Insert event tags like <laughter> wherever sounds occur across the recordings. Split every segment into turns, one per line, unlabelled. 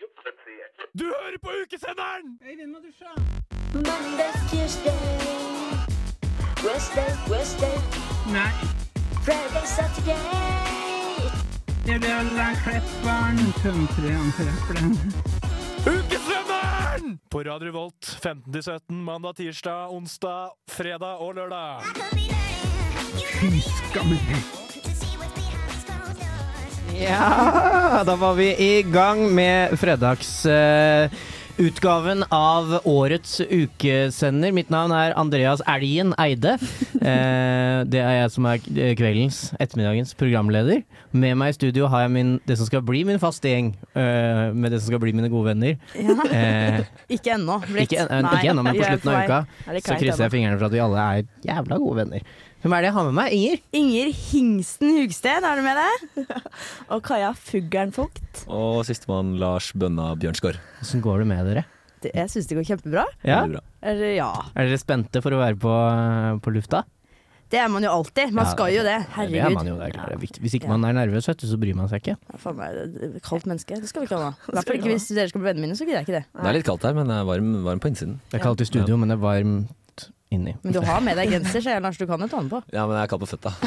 finansiert.
Du hører på ukesenderen!
Eivind, må dusje!
Mandag, tirsdag Wednesday, Wednesday
Nei,
Friday, Saturday
jeg blir alle klepperen. Tømtre, antreplen.
Ukesenderen! På Radio Volt 15-17 mandag, tirsdag, onsdag, fredag og lørdag.
Ja, <laughs> da var vi i gang med fredagsutgaven av årets ukesender. Mitt navn er Andreas Elgen Eide. Eh, det er jeg som er eh, kveldens, ettermiddagens programleder. Med meg i studio har jeg min, det som skal bli min faste gjeng, eh, med det som skal bli mine gode venner.
Ja.
Eh,
Ikke ennå. blitt.
ikke, en, eh,
Nei,
ikke ennå, men
vi
på
er
slutten av
vei.
uka
Er det
så
kleint
krysser
ennå?
jeg fingrene for at vi alle er jævla gode venner. Hvem er det jeg har med meg? Inger?
Inger Hingsten Hugsted, er du med det? Og Kaja Fuggeren Vogt.
Og sistemann Lars Bønna Bjørnsgaard.
Åssen går det med dere?
<laughs> Det- Jeg syns det går kjempebra.
Ja?
Veldig bra.
Eller ja.
Er dere spente for å være på, på lufta?
Det er man jo alltid. Man
Ja,
skal jo det.
Det er
Herregud.
man jo, det er klart. Det er viktig. Hvis ikke
Ja.
man er nervøs, vet du, så bryr man seg ikke.
Ja, faen meg, det- det- Kaldt menneske. Det skal vi ikke ha nå. I hvert fall ikke hvis dere skal bli vennene mine, så gidder jeg ikke det.
Det er litt kaldt her, men jeg er varm, varm på innsiden.
Det er kaldt i studio, men det er varmt inni.
Men du har med deg genser, så jeg, Lars, du kan jo ta den på.
Ja, men jeg er kald på føtta. så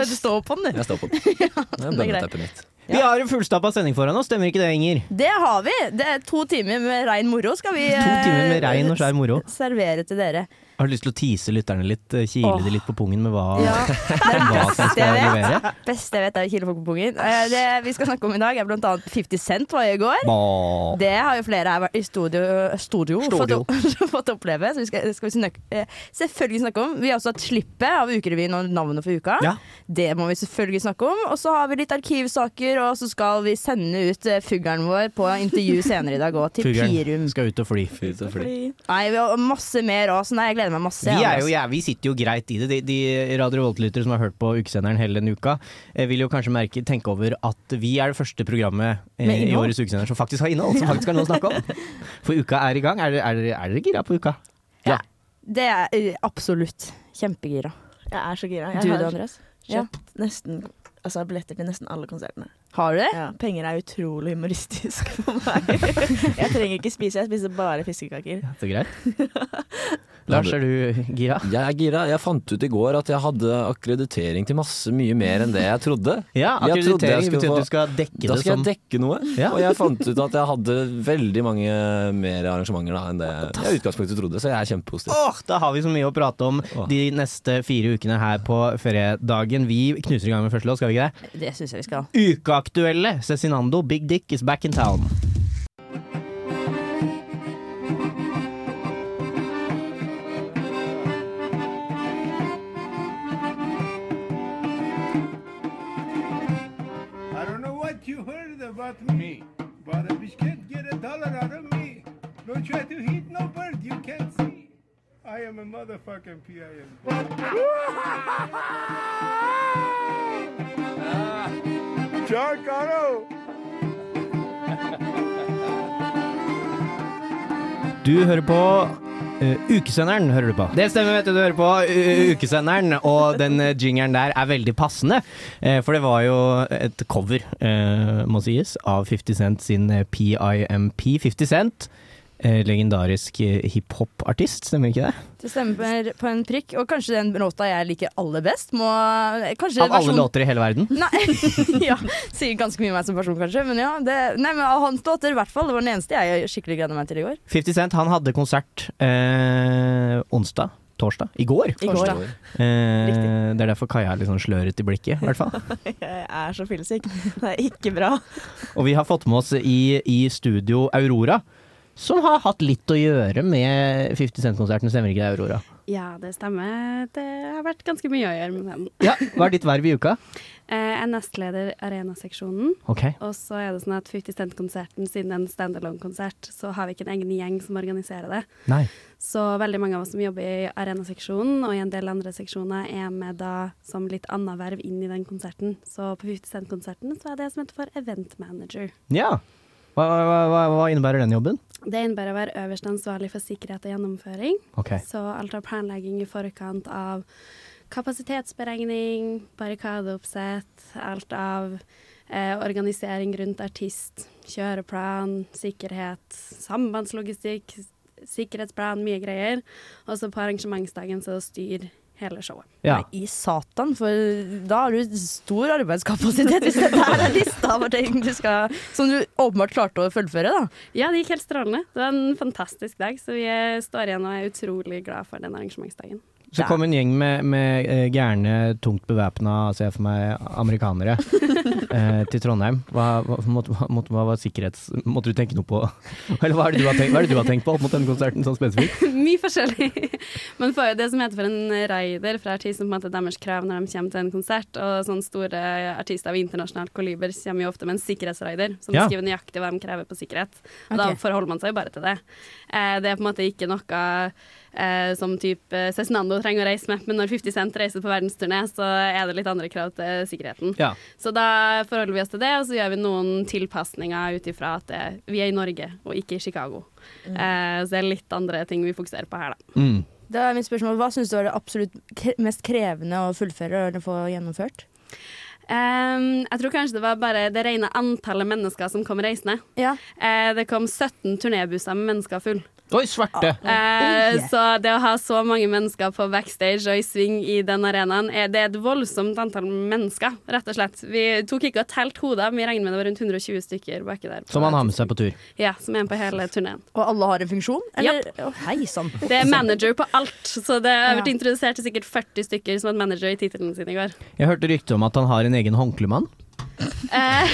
Oi, det står på den, du.
Jeg
<laughs>
står på den. Det er
det er greit.
bønneteppet mitt.
Vi har en fullstappa sending foran oss, stemmer ikke det, Inger?
Det har vi! Det er to timer med rein moro skal vi
To timer med
eh,
rein og skjær moro.
servere til dere.
Har du lyst til å tease lytterne litt? eh, Kile de litt på pungen med hva,
Ja, det er
<laughs> hva som
beste
skal
jeg vet.
levere?
Beste jeg vet er å kile folk på pungen. Eh, Det vi skal snakke om i dag er blant annet 50 Cent var i går.
Hva-
Det har jo flere her vært i studio, studio,
Studio.
Fått, opp, <laughs> fått oppleve, så vi skal, det skal vi snakke, eh, selvfølgelig snakke om. Vi har også hatt slippet av Ukerevyen og navnet for uka.
Ja.
Det må vi selvfølgelig snakke om. Og så har vi litt arkivsaker, og så skal vi sende ut eh, fuggeren vår på intervju senere i dag òg, til Pirum.
Fuglen skal ut og fly.
Fy, så flink.
Nei, vi har masse mer òg, så nei, jeg gleder meg masse.
Vi, er
Andreas.
jo, ja, vi sitter jo greit i det. De, de Radio Volt-lyttere som har hørt på ukesenderen hele denne uka, eh, vil jo kanskje merke, tenke over at vi er det første programmet eh,
Med
i
innhold.
årets ukesender som faktisk har innhold. <laughs> Som faktisk har noe å snakke om. For uka er i gang. Er, dere- er, dere- er dere gira på uka?
Det er eh, absolutt kjempegira.
Jeg er så gira.
Du
Jeg
da,
har
Andreas? Ja.
kjøpt nesten altså, billetter til nesten alle konsertene.
Har du det?
Ja, penger er utrolig humoristisk <laughs> for meg. Jeg trenger ikke spise, jeg spiser bare fiskekaker.
Så greit. Lars, er du gira?
Jeg er gira. Jeg fant ut i går at jeg hadde akkreditering til masse mye mer enn det jeg trodde.
Ja,
Jeg trodde jeg
akkreditering
skulle
betyr
få-
at du skal dekke
Da
det
skal jeg
som
dekke noe,
Ja.
og jeg fant ut at jeg hadde veldig mange mer arrangementer da, enn det jeg i utgangspunktet trodde, så jeg er kjempepositiv.
Åh, Ah, da har vi så mye å prate om
Åh.
de neste fire ukene her på fredagen. Vi knuser i gang med første låt, skal vi ikke det?
Det syns jeg vi skal.
Ukeaktuelle Cezinando, Big Dick is back in town.
I don't know what you heard about me, but a bitch can't get a dollar out of me. No try to hit no bird you can't see. I am a motherfucking PIM. John Caro!
Du hører på eh, Ukesenderen hører du på. Det stemmer, vet du. Du hører på eh, Ukesenderen, og den eh, jingeren der er veldig passende. eh, for det var jo et cover, eh, må sies, av 50 Cent sin eh, PIMP. 50 Cent, eh, legendarisk eh, hiphop-artist, stemmer ikke det?
Det stemmer på en prikk. Og kanskje den låta jeg liker aller best, må kanskje
Av alle
versjon-
låter i hele verden.
Nei, <laughs> ja, Sier ganske mye om meg som person, kanskje. Men ja, det, nei, men av hans låter i hvert fall. Det var den eneste jeg skikkelig gleda meg til i går.
50 Cent han hadde konsert eh, onsdag, torsdag, i går.
I går, da.
Eh, det er derfor Kaja er litt sånn sløret i blikket, i hvert fall.
<laughs> Jeg er så fyllesyk. Det er ikke bra.
Og vi har fått med oss i, i studio Aurora, som har hatt litt å gjøre med 50 Cent-konserten, stemmer ikke det, Aurora?
Ja, det stemmer. Det har vært ganske mye å gjøre med den.
Ja,
<laughs>
Hva er ditt verv i uka?
Eh, Jeg er nestleder Arenaseksjonen.
Ok.
Og så er det sånn at 50 Cent-konserten, siden det er en standalone-konsert, så har vi ikke en egen gjeng som organiserer det.
Nei.
Så veldig mange av oss som jobber i Arenaseksjonen og i en del andre seksjoner, er med da som litt annet verv inn i den konserten. Så på 50 Cent-konserten så er det som heter for event manager.
Ja. Hva, hva, hva, hva innebærer den jobben?
Det innebærer å være øverst ansvarlig for sikkerhet og gjennomføring.
Ok.
Så alt av planlegging i forkant av kapasitetsberegning, barrikadeoppsett, alt av Eh, organisering rundt artist, kjøreplan, sikkerhet, sambandslogistikk, sikkerhetsplan, mye greier. Og så på arrangementsdagen så styr hele showet.
Ja.
Nei, I satan, for da har du stor arbeidskapasitet <laughs> hvis dette her er lista over ting du skal Som du åpenbart klarte å fullføre, da.
Ja, det gikk helt strålende. Det var en fantastisk dag, så vi eh, står igjen og er utrolig glad for den arrangementsdagen.
Så kom en gjeng med, med eh, gærne, tungt bevæpna, ser jeg for meg, <laughs> amerikanere eh, til Trondheim. Hva, hva, måtte, hva, måtte- hva var sikkerhets... Måtte du tenke noe på <laughs> Eller hva er det du har tenkt, hva er det du har tenkt på opp mot denne konserten, sånn spesifikt?
<laughs> Mye forskjellig. Man får jo det som heter for en rider fra artisten, på en måte deres krav når de kommer til en konsert. Og sånne store artister av internasjonalt kaliber kommer jo ofte med en sikkerhetsrider, som
Ja.
skriver nøyaktig hva de krever på sikkerhet. Og da
Ok.
forholder man seg jo bare til det. Eh, det er på en måte ikke noe eh, som type Cezinando trenger å reise med, men når 50 Cent reiser på verdensturné, så er det litt andre krav til sikkerheten.
Ja.
Så da forholder vi oss til det, og så gjør vi noen tilpasninger ut ifra at det, vi er i Norge og ikke i Chicago.
Mm.
Eh, så det er litt andre ting vi fokuserer på her, da.
Hmm.
Mm.
Da er mitt spørsmål, Hva syns du var det absolutt kre- mest krevende å fullføre og få gjennomført?
Ehm, jeg tror kanskje det var bare det rene antallet mennesker som kom reisende.
Ja.
Eh, det kom 17 turnébusser med mennesker full.
Oi, svarte!
Eh,
Oi.
Så det å ha så mange mennesker på backstage og i sving i den arenaen, er, det er et voldsomt antall mennesker, rett og slett. Vi tok ikke og telte hoder, men vi regner med det var rundt 120 stykker baki der. på-
Som han har med seg på tur.
Ja, som er med på hele turneen.
Og alle har en funksjon? Eller? Å, hei sann.
Det er manager på alt, så det har vært
Ja.
introdusert til sikkert 40 stykker som hadde manager i tittelen sin i går.
Jeg hørte rykte om at han har en egen håndklemann.
<laughs>
Eh,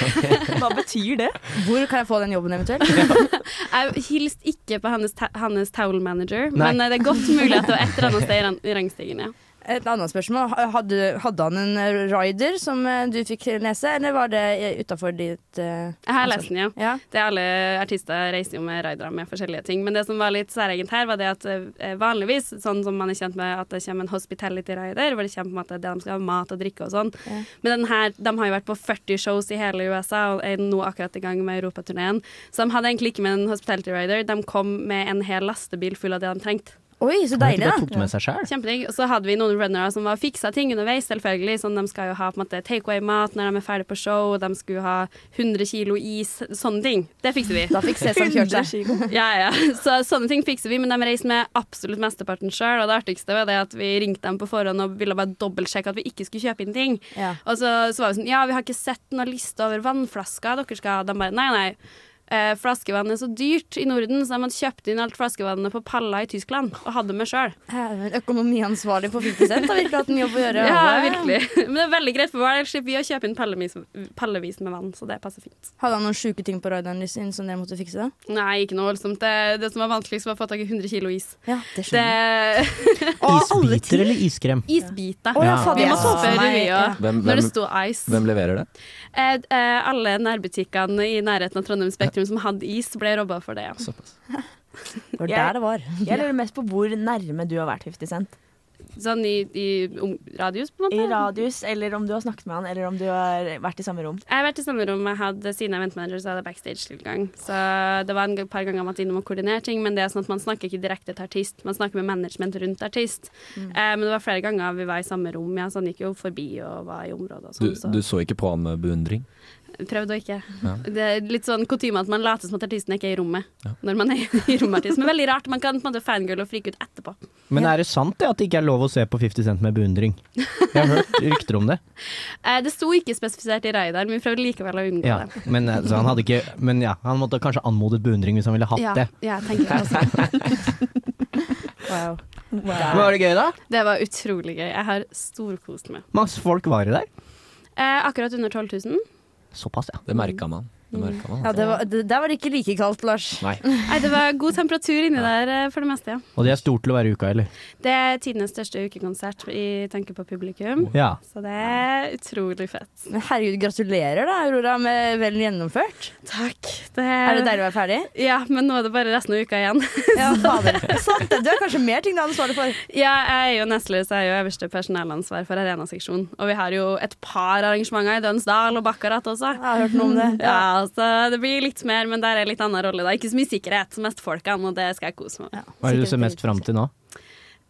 Hva betyr det?
Hvor kan jeg få den jobben eventuelt?
<laughs> jeg hilste ikke på hans, ta hans towel manager,
Nei.
men eh, det er godt mulig at det var et eller annet sted i ran- i rangstigen, ja.
Et annet spørsmål. Hadde, hadde han en rider som eh, du fikk lese, eller var det utafor ditt eh,
Jeg har lest den, ja.
Ja.
Det er alle artister reiser jo med raidere med forskjellige ting. Men det som var litt særegent her, var det at eh, vanligvis, sånn som man er kjent med at det kommer en hospitality raider, hvor det kommer på en måte det de skal ha mat og drikke og sånn.
Ja.
Men den her, de har jo vært på 40 shows i hele USA og er nå akkurat i gang med europaturneen. Så de hadde egentlig ikke med en hospitality raider, de kom med en hel lastebil full av det de trengte.
Oi, så
Han
deilig,
bare
da.
tok det med seg selv.
Kjempedigg. Og så hadde vi noen runnere som var fiksa ting underveis, selvfølgelig. Sånn de skal jo ha på en måte takeaway-mat når de er ferdig på show, og de skulle ha 100 kilo is, sånne ting. Det fikser vi.
Da sånn fikk Sesam kjørt seg.
kilo.
Ja, ja. Så sånne ting fikser vi, men de reiser med absolutt mesteparten sjøl. Og det artigste var det at vi ringte dem på forhånd og ville bare dobbeltsjekke at vi ikke skulle kjøpe inn ting.
Ja.
Og så, så var vi sånn Ja, vi har ikke sett noen liste over vannflasker dere skal ha. De bare Nei, nei. Eh, flaskevann er så dyrt i Norden, så de hadde kjøpt inn alt flaskevannet på Palla i Tyskland og hadde med sjøl.
Herregud, Økonomiansvarlig på 50 har virkelig hatt en jobb å gjøre.
<laughs> Ja,
Wow.
virkelig. Men det er veldig greit, for hver del slipper vi å kjøpe inn pallevis, pallevis med vann, så det passer fint.
Hadde han noen sjuke ting på rideren sin som dere måtte fikse? da?
Nei, ikke noe voldsomt. Det, det som var vanskeligst, var å få tak i 100 kilo is.
Ja, det
Det <laughs>
skjønner jeg. Å, alle
Isbiter
ting.
eller iskrem?
Isbiter.
Å ja,
Ja.
fader, jeg må
Ja.
ta for meg
Spør vi, ja.
Hvem,
Når det
hvem,
sto ice.
hvem leverer det?
Eh, eh, alle nærbutikkene i nærheten av Trondheim Spektrum som hadde is, ble robba for det. Ja.
Såpass.
Det var der det var.
Jeg lurer mest på hvor nærme du har vært 50 Cent.
Sånn i, i om, radius, på en
I
måte.
radius, eller om du har snakket med han, eller om du har vært i samme rom.
Jeg har vært i samme rom jeg hadde siden event manager, så hadde jeg backstage-tilgang. Så det var en g- par ganger man var innom og koordinerte ting, men det er sånn at man snakker ikke direkte til artist, man snakker med management rundt artist.
Mm.
Eh, men det var flere ganger vi var i samme rom, ja, så han gikk jo forbi og var i området og
Du,
sånn. Så.
du så ikke på han med beundring?
Prøvde å ikke.
Ja.
Det er litt sånn kutyme at man later som at artisten ikke er i rommet. Når man er i <laughs> rommet artist. Men veldig rart. Man kan på en måte fangirl og frike ut etterpå.
Men er det sant det at det ikke er lov å se på 50 Cent med beundring? Jeg har hørt rykter om det.
Eh, det sto ikke spesifisert i Reidar, men vi prøvde likevel å unngå
Ja,
det.
men, eh, så han hadde ikke, men ja, han måtte kanskje anmodet beundring hvis han ville hatt
Ja,
det.
ja, jeg tenker det også.
<laughs>
<laughs> Wow.
Men var det gøy, da?
Det var utrolig gøy. Jeg har storkost meg.
Masse folk var det der.
Eh, akkurat under 12 000.
Såpass, ja.
Det merka man. Det merket
altså.
man altså.
Ja, det var, det, der var det ikke like kaldt, Lars.
Nei.
Nei, det var god temperatur inni der eh, for det meste, ja.
Og de er stort til å være i uka, eller?
Det er tidenes største ukekonsert i tanke på publikum.
Ja.
Så det er utrolig fett.
Men herregud, gratulerer da, Aurora, med vel gjennomført.
Takk.
Er det deilig å være ferdig?
Ja, men nå er det bare resten av uka igjen.
Ja, fader. <laughs> Sant det. Du har kanskje mer ting du har ansvaret for.
<laughs> Ja, jeg er jo nestleder, så jeg er jo øverste personellansvar for arenaseksjonen. Og vi har jo et par arrangementer i Dønsdal og Bakkarat også.
Jeg har hørt noe om det.
Ja, så det blir litt mer, men der er litt annen rolle da. Ikke så mye sikkerhet, mest folkene, og det skal jeg kose meg med.
Hva er det du ser mest fram til nå?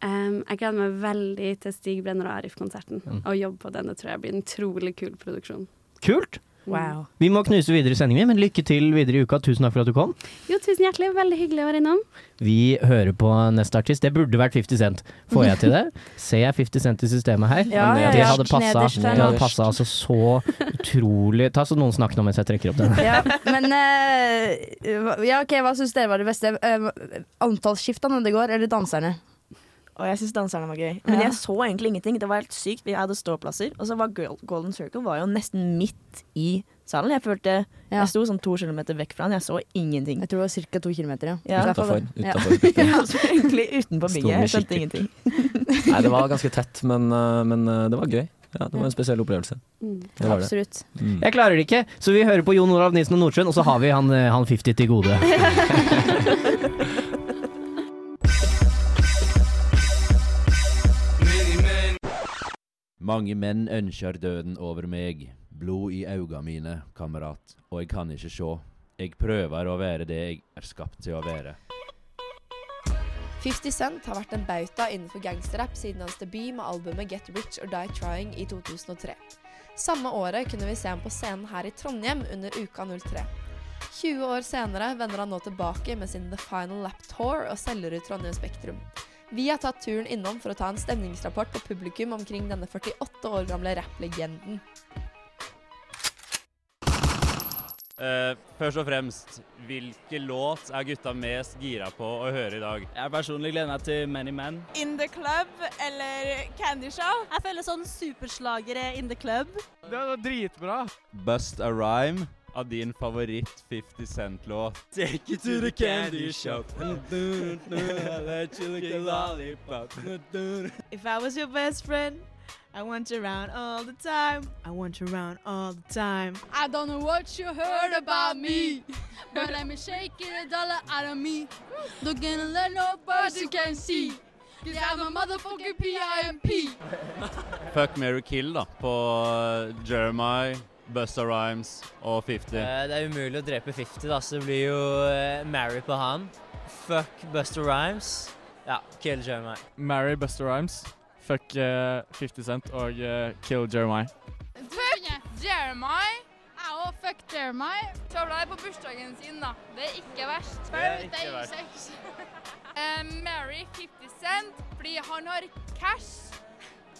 Em, jeg gleder meg veldig til Stig Brenner og Arif-konserten. Å jobbe på den, det tror jeg blir en utrolig kul produksjon. Mm.
Kult!
Wow.
Vi må knuse videre sendingen, men lykke til videre i uka. Tusen takk for at du kom.
Jo, tusen hjertelig. Veldig hyggelig å være innom.
Vi hører på neste artist. Det burde vært 50 Cent. Får jeg til det? Ser jeg 50 Cent i systemet her?
Ja,
ja,
Det
ja.
hadde passa,
Nederst
det
der,
hadde
nederst.
passa altså så utrolig Ta så noen snakker nå mens jeg trekker opp den.
Ja, men eh, hva- ja, ok, Hva syns dere var det beste? Eh, Antallsskiftene det går, eller danserne?
Og jeg syns danserne var gøy. Men
Ja.
jeg så egentlig ingenting. Det var helt sykt. Vi hadde ståplasser. Og så var Girl- Golden Circle var jo nesten midt i salen. Jeg følte
Ja.
Jeg sto sånn to kilometer vekk fra den. Jeg så ingenting.
Jeg tror det var ca. to kilometer. Ja.
Ja.
Derfor-
Utafor.
Ja.
<laughs>
<laughs>
Jeg sto egentlig utenpå
Sto
bygget.
med
Jeg skjønte
kikkert.
ingenting.
Nei, det var ganske tett, men, eh, men eh, det var gøy. Ja, det var en spesiell opplevelse. Det var det.
Absolutt.
Mm.
Jeg klarer det ikke, så vi hører på Jon Olav Nisen og Nordstrøn, og så har vi han, eh, han 50 til
<laughs>
gode.
Mange menn ønsker døden over meg. Blod i auga mine, kamerat. Og jeg kan ikke sjå. Jeg prøver å være det jeg er skapt til å være.
50 Cent har vært en bauta innenfor gangsterrap siden hans debut med albumet Get Rich or Die Trying i 2003. Samme året kunne vi se ham på scenen her i Trondheim under Uka 03. 20 år senere vender han nå tilbake med sin The Final Lap Tour og selger ut Trondheim Spektrum. Vi har tatt turen innom for å ta en stemningsrapport på publikum omkring denne 48 år gamle rapplegenden.
Eh, først og fremst, hvilken låt er gutta mest gira på å høre i dag? Jeg personlig gleder meg til Many Man.
In the Club eller Candy Show? Jeg føler sånn superslagere in the club.
Det var dritbra.
Bust a rhyme av din favoritt 50 Cent-låt. <laughs> Take it to the candy <laughs> shop.
If I was your best friend, I want you around all the time. I want you around all the time.
I don't know what you heard about me, but I'm shaking a dollar out of me. Don't gonna let nobody can see, cause I'm a motherfucking PIMP.
Fuck, marry, kill da, på Jeremiah, Busta Rhymes og 50.
Det er umulig å drepe 50, da, så det blir jo Mary på han. Fuck Buster Rhymes. Ja, kill Jeremiah.
Marry Buster Rhymes. Fuck 50 Cent og eh, Kill Jeremiah.
Jeremiah. Jeg òg fuck Jeremiah. Tøvla er på bursdagen sin, da. Det er ikke verst. Det
er ikke verst.
<laughs> Mary 50 Cent, fordi han har cash.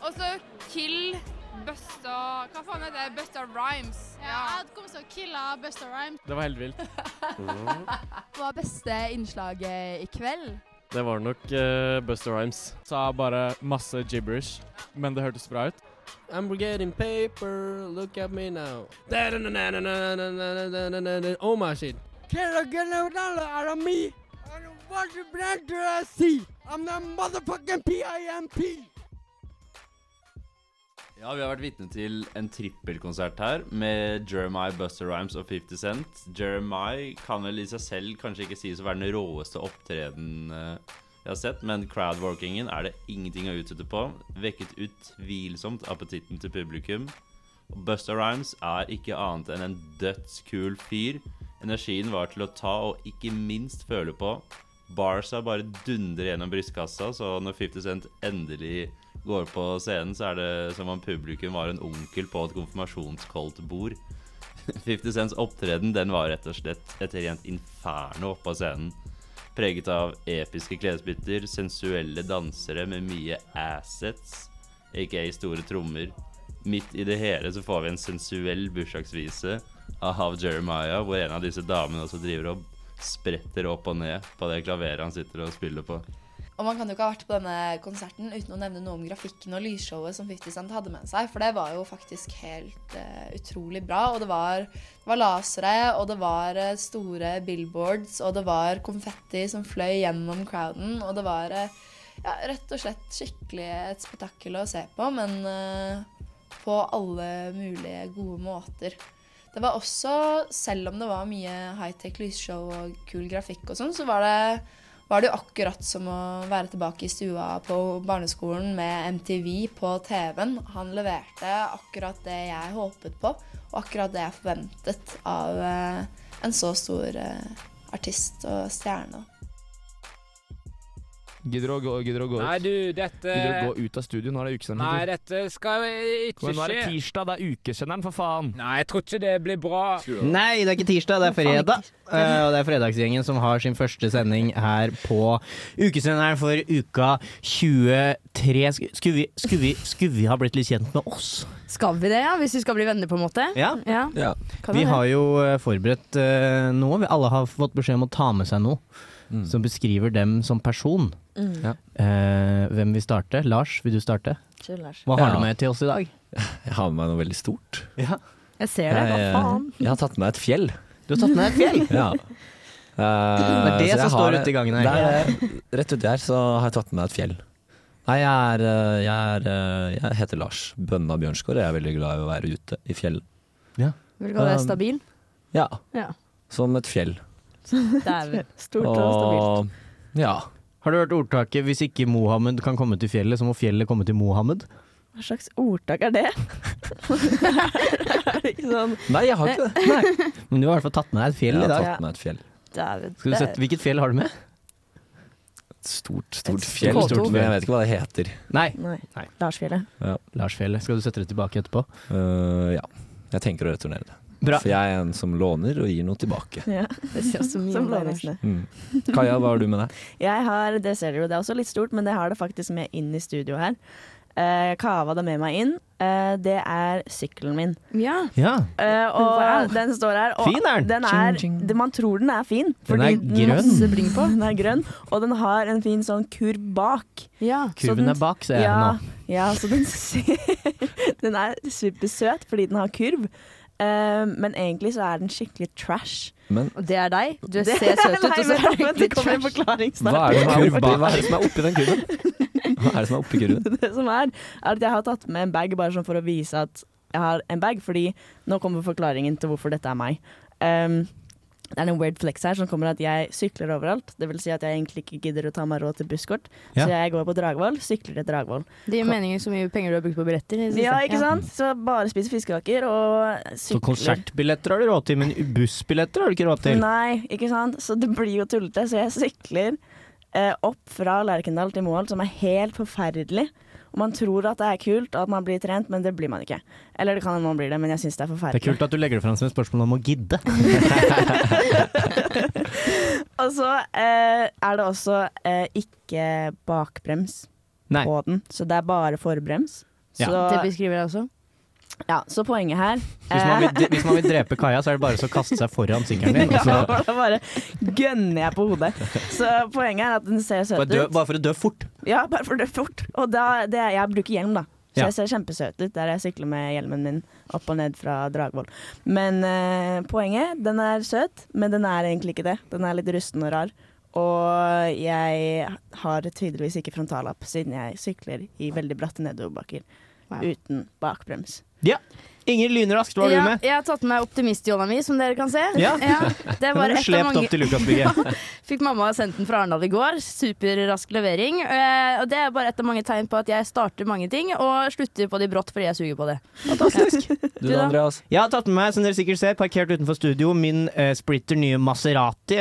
Og så kill Busta Hva faen heter det? Busta Rhymes. Ja, jeg hadde kommet til å kille Busta Rhymes.
Det var helt vilt. Mm,
Hva er beste innslaget i kveld?
Det var nok uh, Buster Rhymes. Sa bare masse gibberish, men det hørtes bra ut.
I'm getting paper, look at me now. Oh my shit. Can I get a dollar out of me? And what brand do I see? I'm the motherfucking PIMP! Ja, vi har vært vitne til en trippelkonsert her med Jeremiah, Buster Rhymes og 50 Cent. Jeremiah kan vel i seg selv kanskje ikke sies å være den råeste opptreden eh, jeg har sett, men crowdworkingen er det ingenting å utsette på. Vekket utvilsomt appetitten til publikum. Og Busta Rhymes er ikke annet enn en dødskul fyr. Energien var til å ta og ikke minst føle på. Barca bare dundrer gjennom brystkassa, så når 50 Cent endelig går på scenen, så er det som om publikum var en onkel på et <laughs> konfirmasjonskoldtbord. 50 Cents opptreden den var rett og slett et rent inferno oppe på scenen. Preget av episke klesbytter, sensuelle dansere med mye assets, aka store trommer. Midt i det hele så får vi en sensuell bursdagsvise av Hav Jeremiah, hvor en av disse damene også driver og spretter opp og ned på det klaveret han sitter og spiller på.
Og man kan jo ikke ha vært på denne konserten uten å nevne noe om grafikken og lysshowet som 50 Cent hadde med seg, for det var jo faktisk helt eh, utrolig bra. Og det var, det var lasere, og det var eh, store billboards, og det var konfetti som fløy gjennom crowden, og det var eh, ja, rett og slett skikkelig et spetakkel å se på, men eh, på alle mulige gode måter. Det var også, selv om det var mye high-tech lysshow og kul grafikk og sånn, så var det var det jo akkurat som å være tilbake i stua på barneskolen med MTV på TV-en. Han leverte akkurat det jeg håpet på, og akkurat det jeg forventet av eh, en så stor eh, artist og stjerne.
Gidder å gå, gidder å gå ut?
Nei, du, dette-
Gidder å gå ut av studio? Nå er det ukesenderen.
Nei, dette skal
Kom
ikke
igjen, Nå er det
skje.
tirsdag, det er ukesenderen, for faen!
Nei, jeg tror ikke det blir bra.
Nei, det er ikke tirsdag, det er fredag. Eh, og det er Fredagsgjengen som har sin første sending her på ukesenderen for uka 23. Sk- Skulle vi, skulle vi, skulle vi ha blitt litt kjent med oss?
Skal vi det, ja? Hvis vi skal bli venner, på en måte?
Ja.
ja. Kan
Vi
det?
har jo eh, forberedt eh, noe. Vi alle har fått beskjed om å ta med seg noe som beskriver dem som person.
Mm. Ja.
Eh, hvem vil starte? Lars, vil du starte?
Kjør, Lars.
Hva har
Ja.
du med til oss i dag?
Jeg har med meg noe veldig stort.
Jeg ser det. Hva
Jeg, eh,
faen?
Jeg har tatt med et fjell.
Du har tatt med et fjell?
<laughs> ja. Eh,
Det er det som står ute i gangen her.
rett uti her så har jeg tatt med meg et fjell. Nei, jeg, er, eh, jeg, er, eh, jeg heter Lars Bønna Bjørnskår, og jeg er veldig glad i å være ute i fjellet.
Vil du kalle det
Um,
stabil?
Ja,
Ja. <laughs>
som et fjell.
Dæven.
Stort
ja.
Har du hørt ordtaket 'hvis ikke Mohammed kan komme til fjellet, så må fjellet komme til Mohammed'?
Hva slags ordtak <laughs> er det? er det ikke sånn
Nei, jeg har ikke det.
Nei. <laughs> Men du har i hvert fall tatt med deg et fjell i
Jeg har
dag.
tatt med et fjell.
Dæven.
Skal du sette, hvilket fjell har du med?
Stort, stort fjell.
K2.
Stort, men jeg vet ikke hva det heter.
Nei.
Nei. Larsfjellet.
Larsfjellet. Skal du sette det tilbake etterpå?
Eh, ja. Jeg tenker å returnere det.
Bra.
For jeg er en som låner og gir noe tilbake.
Ja.
Det sier også mye
Som
om deg, Lars.
Lars.
<laughs>
Mm. Kaja, hva har du med deg?
Jeg har det ser dere jo, det er også litt stort, men det har det faktisk med inn i studio her. Eh, Kava det med meg inn. Eh, det er sykkelen min.
Ja.
Ja.
Eh, og
Wow.
den står her. Og
Fin er den.
er,
Ching, ching.
det- Man tror den er fin.
Den
fordi
er grønn.
masse bling på. Den er grønn. Og den har en fin sånn kurv bak. Så
Kurven
den-
er bak, ser jeg
ja,
nå.
Ja, så den ser Den er supersøt fordi den har kurv. Eh, men egentlig så er den skikkelig trash.
Men
Og det er deg. Du
Det-
ser søt ut,
Nei,
og så
men
er du
men det
egentlig
kommer <laughs> en
trash.
forklaring snart.
Hva er det som er,
Kurv
oppi,
bak.
hva er det som er oppi den kurven? Hva er det som er oppi kurven?
<laughs> det som er, er at jeg har tatt med en bag bare sånn for å vise at jeg har en bag, fordi nå kommer forklaringen til hvorfor dette er meg. Ehm, det er en weird flex her som kommer at jeg sykler overalt. Det vil si at jeg egentlig ikke gidder å ta meg råd til busskort,
Ja.
så jeg går på Dragvoll, sykler til Dragvoll.
Det gir mening så mye penger du har brukt på billetter. i det siste.
Ja, ikke sant? Så bare spiser fiskekaker og
Så
sykler.
konsertbilletter har du råd til, men bussbilletter har du ikke råd til.
Nei, ikke sant? Så det blir jo tullete. Så jeg sykler eh, opp fra Lerkendal til Moholt, som er helt forferdelig. Og man tror at det er kult og at man blir trent, men det blir man ikke. Eller det kan hende man blir det, men jeg syns det er
Det er
forferdelig.
kult at du legger det fram som et spørsmål om
<laughs>
å gidde.
Og så eh, er det også eh, ikke bakbrems
Nei.
på den, så det er bare forbrems.
Ja.
Så,
Det beskriver jeg også.
ja, så poenget her
Hvis man, vil,
eh,
hvis
<laughs>
man vil drepe Kaja, så er det bare så å kaste seg foran sykkelen din. og
Ja,
så-
da bare gønner jeg på hodet. Så poenget er at den ser søt ut.
Bare, dø, bare for å dø fort.
Ja, bare for det er fort. Og da, det er, jeg bruker hjelm, da. Så
Ja.
jeg ser kjempesøt ut der jeg sykler med hjelmen min opp og ned fra Dragvoll. Men eh, poenget, den er søt, men den er egentlig ikke det. Den er litt rusten og rar. Og jeg har tydeligvis ikke frontallapp, siden jeg sykler i veldig bratte nedoverbakker uten bakbrems.
Ja. Ingrid Lynraskt, hva har
ja,
du med?
Jeg har tatt med meg optimistjåla mi, som dere kan se. <laughs>
Ja.
det
Den
var
<laughs> har du
et av
slept
mange
opp
<laughs>
til Lukasbygget.
Fikk mamma sendt den fra Arendal i går. Superrask levering. Eh, og det er bare et av mange tegn på at jeg starter mange ting og slutter på de brått fordi jeg suger på det.
Fantastisk.
Du da, Andreas?
Jeg har tatt med meg, som dere sikkert ser, parkert utenfor studio, min eh, splitter nye Maserati.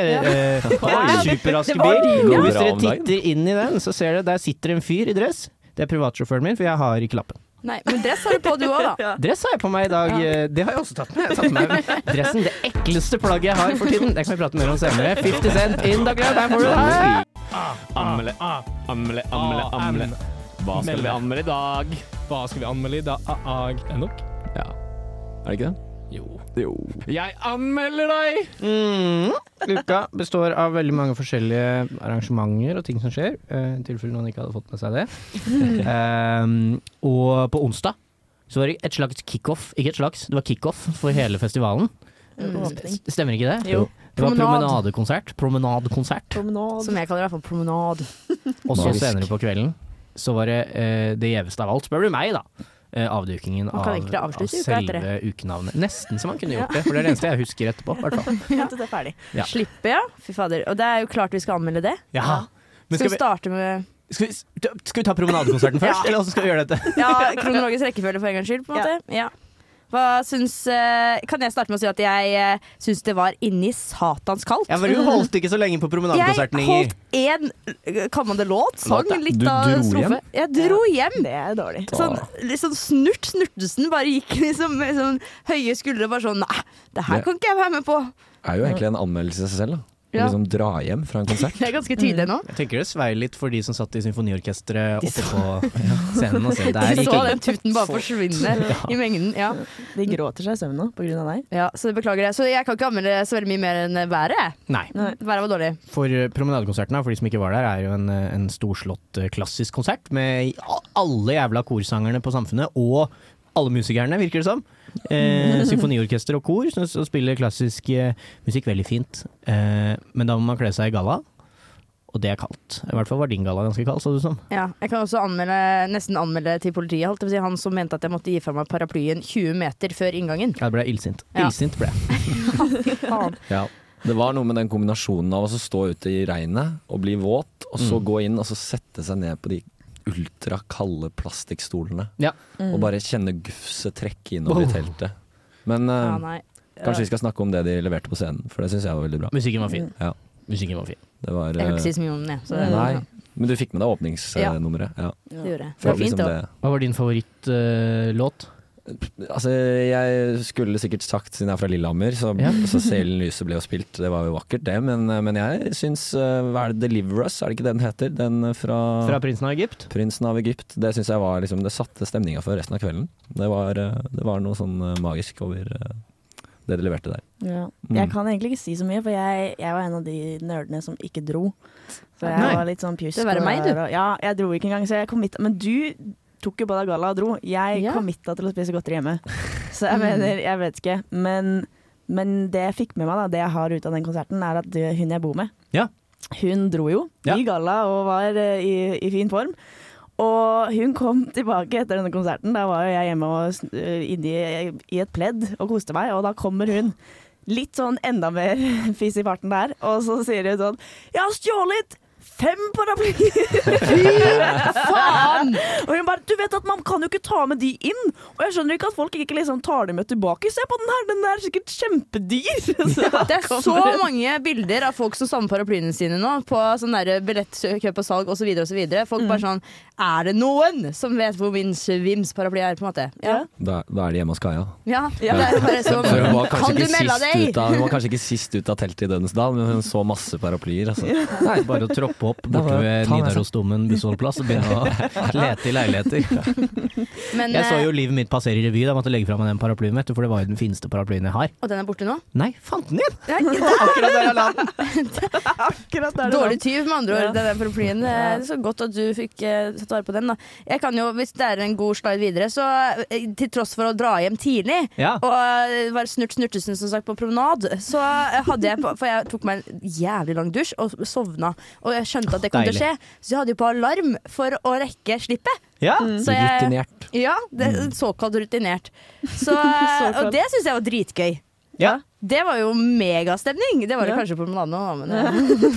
<laughs> Ja.
eh,
Wow.
superraske
Det var
bil.
rimelig.
Og hvis
Går bra
dere
om dagen.
titter inn i den, så ser dere der sitter en fyr i dress. Det er privatsjåføren min, for jeg har ikke lappen.
Nei, men dress har du på du òg,
<laughs>
da.
Dress har jeg på meg i dag. eh, Det har jeg også tatt med. Jeg har tatt
<laughs>
med meg dressen, det ekleste plagget jeg har for tiden. Det kan vi prate mer om senere. 50 Cent in, da, Glenn. Der får du det.
Anmelde, anmelde, anmelde, anmelde. Hva skal vi anmelde i dag?
Hva skal vi anmelde i dag? Enok?
Ja. Er det ikke det?
Jo.
Jo.
Jeg anmelder deg!
Mm. Uka består av veldig mange forskjellige arrangementer og ting som skjer, eh, i tilfelle noen ikke hadde fått med seg
<laughs>
det. Ehm, og på onsdag så var det et slags kickoff, ikke et slags, det var kickoff for hele festivalen.
Mm. Åpning.
Stemmer ikke det?
Jo.
Det var
Promenad.
promenadekonsert. Promenadekonsert.
Som jeg kaller det i hvert fall promenad.
Og så
Magisk.
senere på kvelden så var det eh, det gjeveste av alt, spør du meg, da. eh, Avdukingen
Man
av,
kan egentlig
av
avslutte uka etter
selve ukenavnet. Nesten så man kunne gjort det, for det er det eneste jeg husker etterpå. i Hvert fall.
Vent til det er ferdig.
Ja.
Slippe, ja. Fy fader. Og det er jo klart vi skal anmelde det.
Ja.
skal
Men skal
vi
vi-
starte med
Skal vi,
<laughs>
skal vi ta promenadekonserten først,
Ja. <laughs>
eller hvordan skal vi gjøre dette?
Ja, kronologisk rekkefølge for en gangs skyld, på en måte. Ja. Hva syns eh, Kan jeg starte med å si at jeg eh, syns det var inni satans kaldt? Mm.
Ja, for du holdt ikke så lenge på promenadekonserten,
Jeg
Inger.
holdt en eh, Kan man det låt? Sang
Låt, ja.
litt
Du
av en
dro
strofe.
hjem?
Jeg dro hjem.
Det er dårlig.
Sånn, litt sånn snurt, snurtesen bare gikk <laughs> liksom med sånn høye skuldre bare sånn Nei, det her
Det-
kan ikke jeg være med på.
er jo egentlig en anmeldelse i seg selv. da Å
Ja.
Liksom dra hjem fra en konsert.
Det er ganske tydelig nå.
Jeg tenker det sveier litt for de som satt i symfoniorkesteret
De
oppe
så-
på scenen. Og se. Der
<laughs> De
gikk
så
det.
den tuten bare
Så-
forsvinne
<laughs> Ja.
i mengden. Ja.
De gråter seg i søvn nå på grunn av deg.
ja, så beklager det. Så jeg kan ikke anmelde så veldig mye mer enn været.
Nei.
Været var dårlig.
For eh, promenadekonserten, her, for de som ikke var der, er jo en, eh, en storslått eh, klassisk konsert med a- alle jævla korsangerne på Samfunnet og alle musikerne, virker det som. Eh, symfoniorkester og kor som som spiller klassisk eh, musikk veldig fint. Eh, men da må man kle seg i galla, og det er kaldt. I hvert fall var din galla ganske kald, så du som.
Ja, jeg kan også anmelde, nesten anmelde til politiet. Holdt jeg på å si, han som mente at jeg måtte gi fra meg paraplyen 20 meter før inngangen.
Jeg ble illsint.
Ja.
Illsint ble jeg.
<laughs> Faen.
Ja. Det var noe med den kombinasjonen av å stå ute i regnet og bli våt, og
Mm.
så gå inn og så sette seg ned på de ultrakalde plastikkstolene.
Ja.
Og
Mm.
bare kjenne gufset trekke innover i
Oh.
teltet. Men eh,
Ja,
um,
nei.
kanskje vi skal snakke om det de leverte på scenen, for det syns jeg var veldig bra.
Musikken var fin.
Ja.
Musikken var fin.
Det var,
Jeg kan
eh,
ikke si så mye om den, jeg. Så det,
Nei, men du fikk med deg
Ja.
åpningsnummeret. Ja.
det gjorde jeg. Det
For
var fint,
liksom
da.
Hva var din
eh,
favorittlåt?
Altså, jeg skulle sikkert sagt, siden jeg er fra Lillehammer, så,
Ja.
så 'Selen lyse' ble jo spilt, det var jo vakkert det, men, men jeg syns eh, Hva er det 'Deliver Us', er det ikke det den heter? Den fra,
Fra 'Prinsen av Egypt'?
Prinsen av Egypt. Det syns jeg var liksom Det satte stemninga for resten av kvelden. Det var, eh, det var noe sånn eh, magisk over eh, det de leverte der.
Ja.
Mm.
Jeg kan egentlig ikke si så mye, for jeg, jeg var en av de nerdene som ikke dro. Så jeg
Nei.
var litt sånn pjusk.
Det var
og-
meg, du.
Og, ja, jeg dro ikke engang, så jeg committa. Men du tok jo på deg galla og dro. Jeg
Ja.
committa til å spise godteri hjemme. Så jeg mener, jeg vet ikke. Men, men det jeg fikk med meg, da, det jeg har ut av den konserten, er at det- hun jeg bor med,
Ja.
hun dro jo
Ja.
i galla og var eh, i, i fin form. Og hun kom tilbake etter denne konserten. Da var jo jeg hjemme og, sn- eh, inni, i et pledd og koste meg, og da kommer hun. Litt sånn enda mer <laughs> fiss i farten der, og så sier hun sånn Jeg har stjålet fem paraplyer!
faen!
<laughs> og hun bare Du vet at man kan jo ikke ta med de inn! Og jeg skjønner ikke at folk ikke liksom tar dem med tilbake. Se på den her, den er sikkert kjempedyr! <laughs> Så da
Det er
kommer
<laughs> så
hun.
mange bilder av folk som samler paraplyene sine nå, på sånn der billettkjøp og salg osv. osv.
Mm.
Folk bare sånn Er det noen som vet hvor min Svims paraply er, på en måte? Ja.
Da, da er de hjemme hos Kaja.
ja. Det er bare sånn
<laughs> For hun var kanskje
Kan du
ikke
melde
sist
deg?
ut av- Hun var kanskje ikke sist ut av teltet i Dødensdal, men hun så masse paraplyer. Altså.
Nei, bare å troppe opp
<laughs> Da
borte
var-
ved
ta med seg-
Nidarosdomen bussholdeplass og begynne
<laughs>
å lete i leiligheter.
Men,
Jeg så
eh,
jo livet mitt passere i revy da jeg måtte legge fra meg den paraplyen, vet du, for det var jo den fineste paraplyen jeg har.
eh, Og den er borte nå?
Nei, fant den igjen!
Nei, <laughs> der!
Akkurat der jeg la den!
<laughs> Akkurat der det var.
Dårlig tyv, med andre ord.
Ja.
Den paraplyen. Eh, Det er så godt at du fikk eh, tatt vare på den. Da. Jeg kan jo, Hvis det er en god slide videre, så eh, til tross for å dra hjem tidlig
Ja.
og eh, være snurt snurtesen som sagt på promenad, så eh, hadde jeg på, For jeg tok meg en jævlig lang dusj og sovna. Og jeg skjønte at det kom til å skje,
Deilig.
så jeg hadde jo på alarm for å rekke slippet.
Ja.
Så jeg,
Rutinert.
ja, det, såkalt rutinert.
<laughs>
Så, eh, og det syns jeg var dritgøy.
ja.
Det var jo megastemning! Det var det
Ja.
kanskje på promenaden òg, men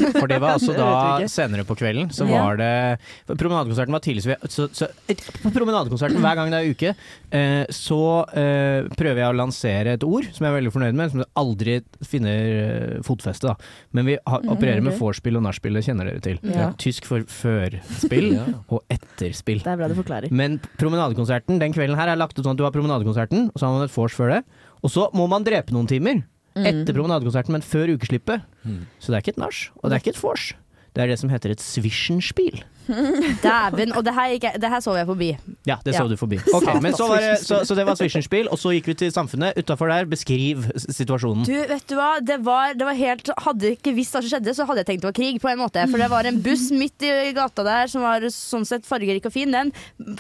eh.
<laughs> For det
<laughs>
var altså
Det vet vi
da
ikke.
senere på kvelden, så
Ja.
var det for Promenadekonserten var tidlig, så, vi, så, så et- På promenadekonserten hver gang det er uke, eh, så eh, prøver jeg å lansere et ord som jeg er veldig fornøyd med, som jeg aldri finner eh, fotfeste, da. Men vi har, opererer
Mm,
med
ok.
vorspiel og nachspiel, det kjenner dere til.
Ja.
Tysk for
<laughs>
førspill
Ja.
og etterspill.
Det er bra du forklarer.
Men promenadekonserten den kvelden her er lagt ut sånn at du har promenadekonserten, og så har man et vors før det. Og så må man drepe noen timer etter promenadekonserten, men før ukeslippet.
Mm.
Så det er ikke et nach, og det er ikke et vors. Det er det som heter et swishenspiel.
<laughs> dæven. Og det her, gikk jeg, det her sov jeg forbi.
Ja, det så
Ja.
du forbi. Ok, men så, var det, så, så det var swishenspiel, og så gikk vi til Samfunnet. Utafor der, beskriv s- situasjonen.
Du, vet du hva? Det var, det var helt, hadde jeg ikke visst hva som skjedde, så hadde jeg tenkt det var krig. på en måte For det var en
<laughs>
buss midt i gata der som var sånn sett fargerik og fin. Den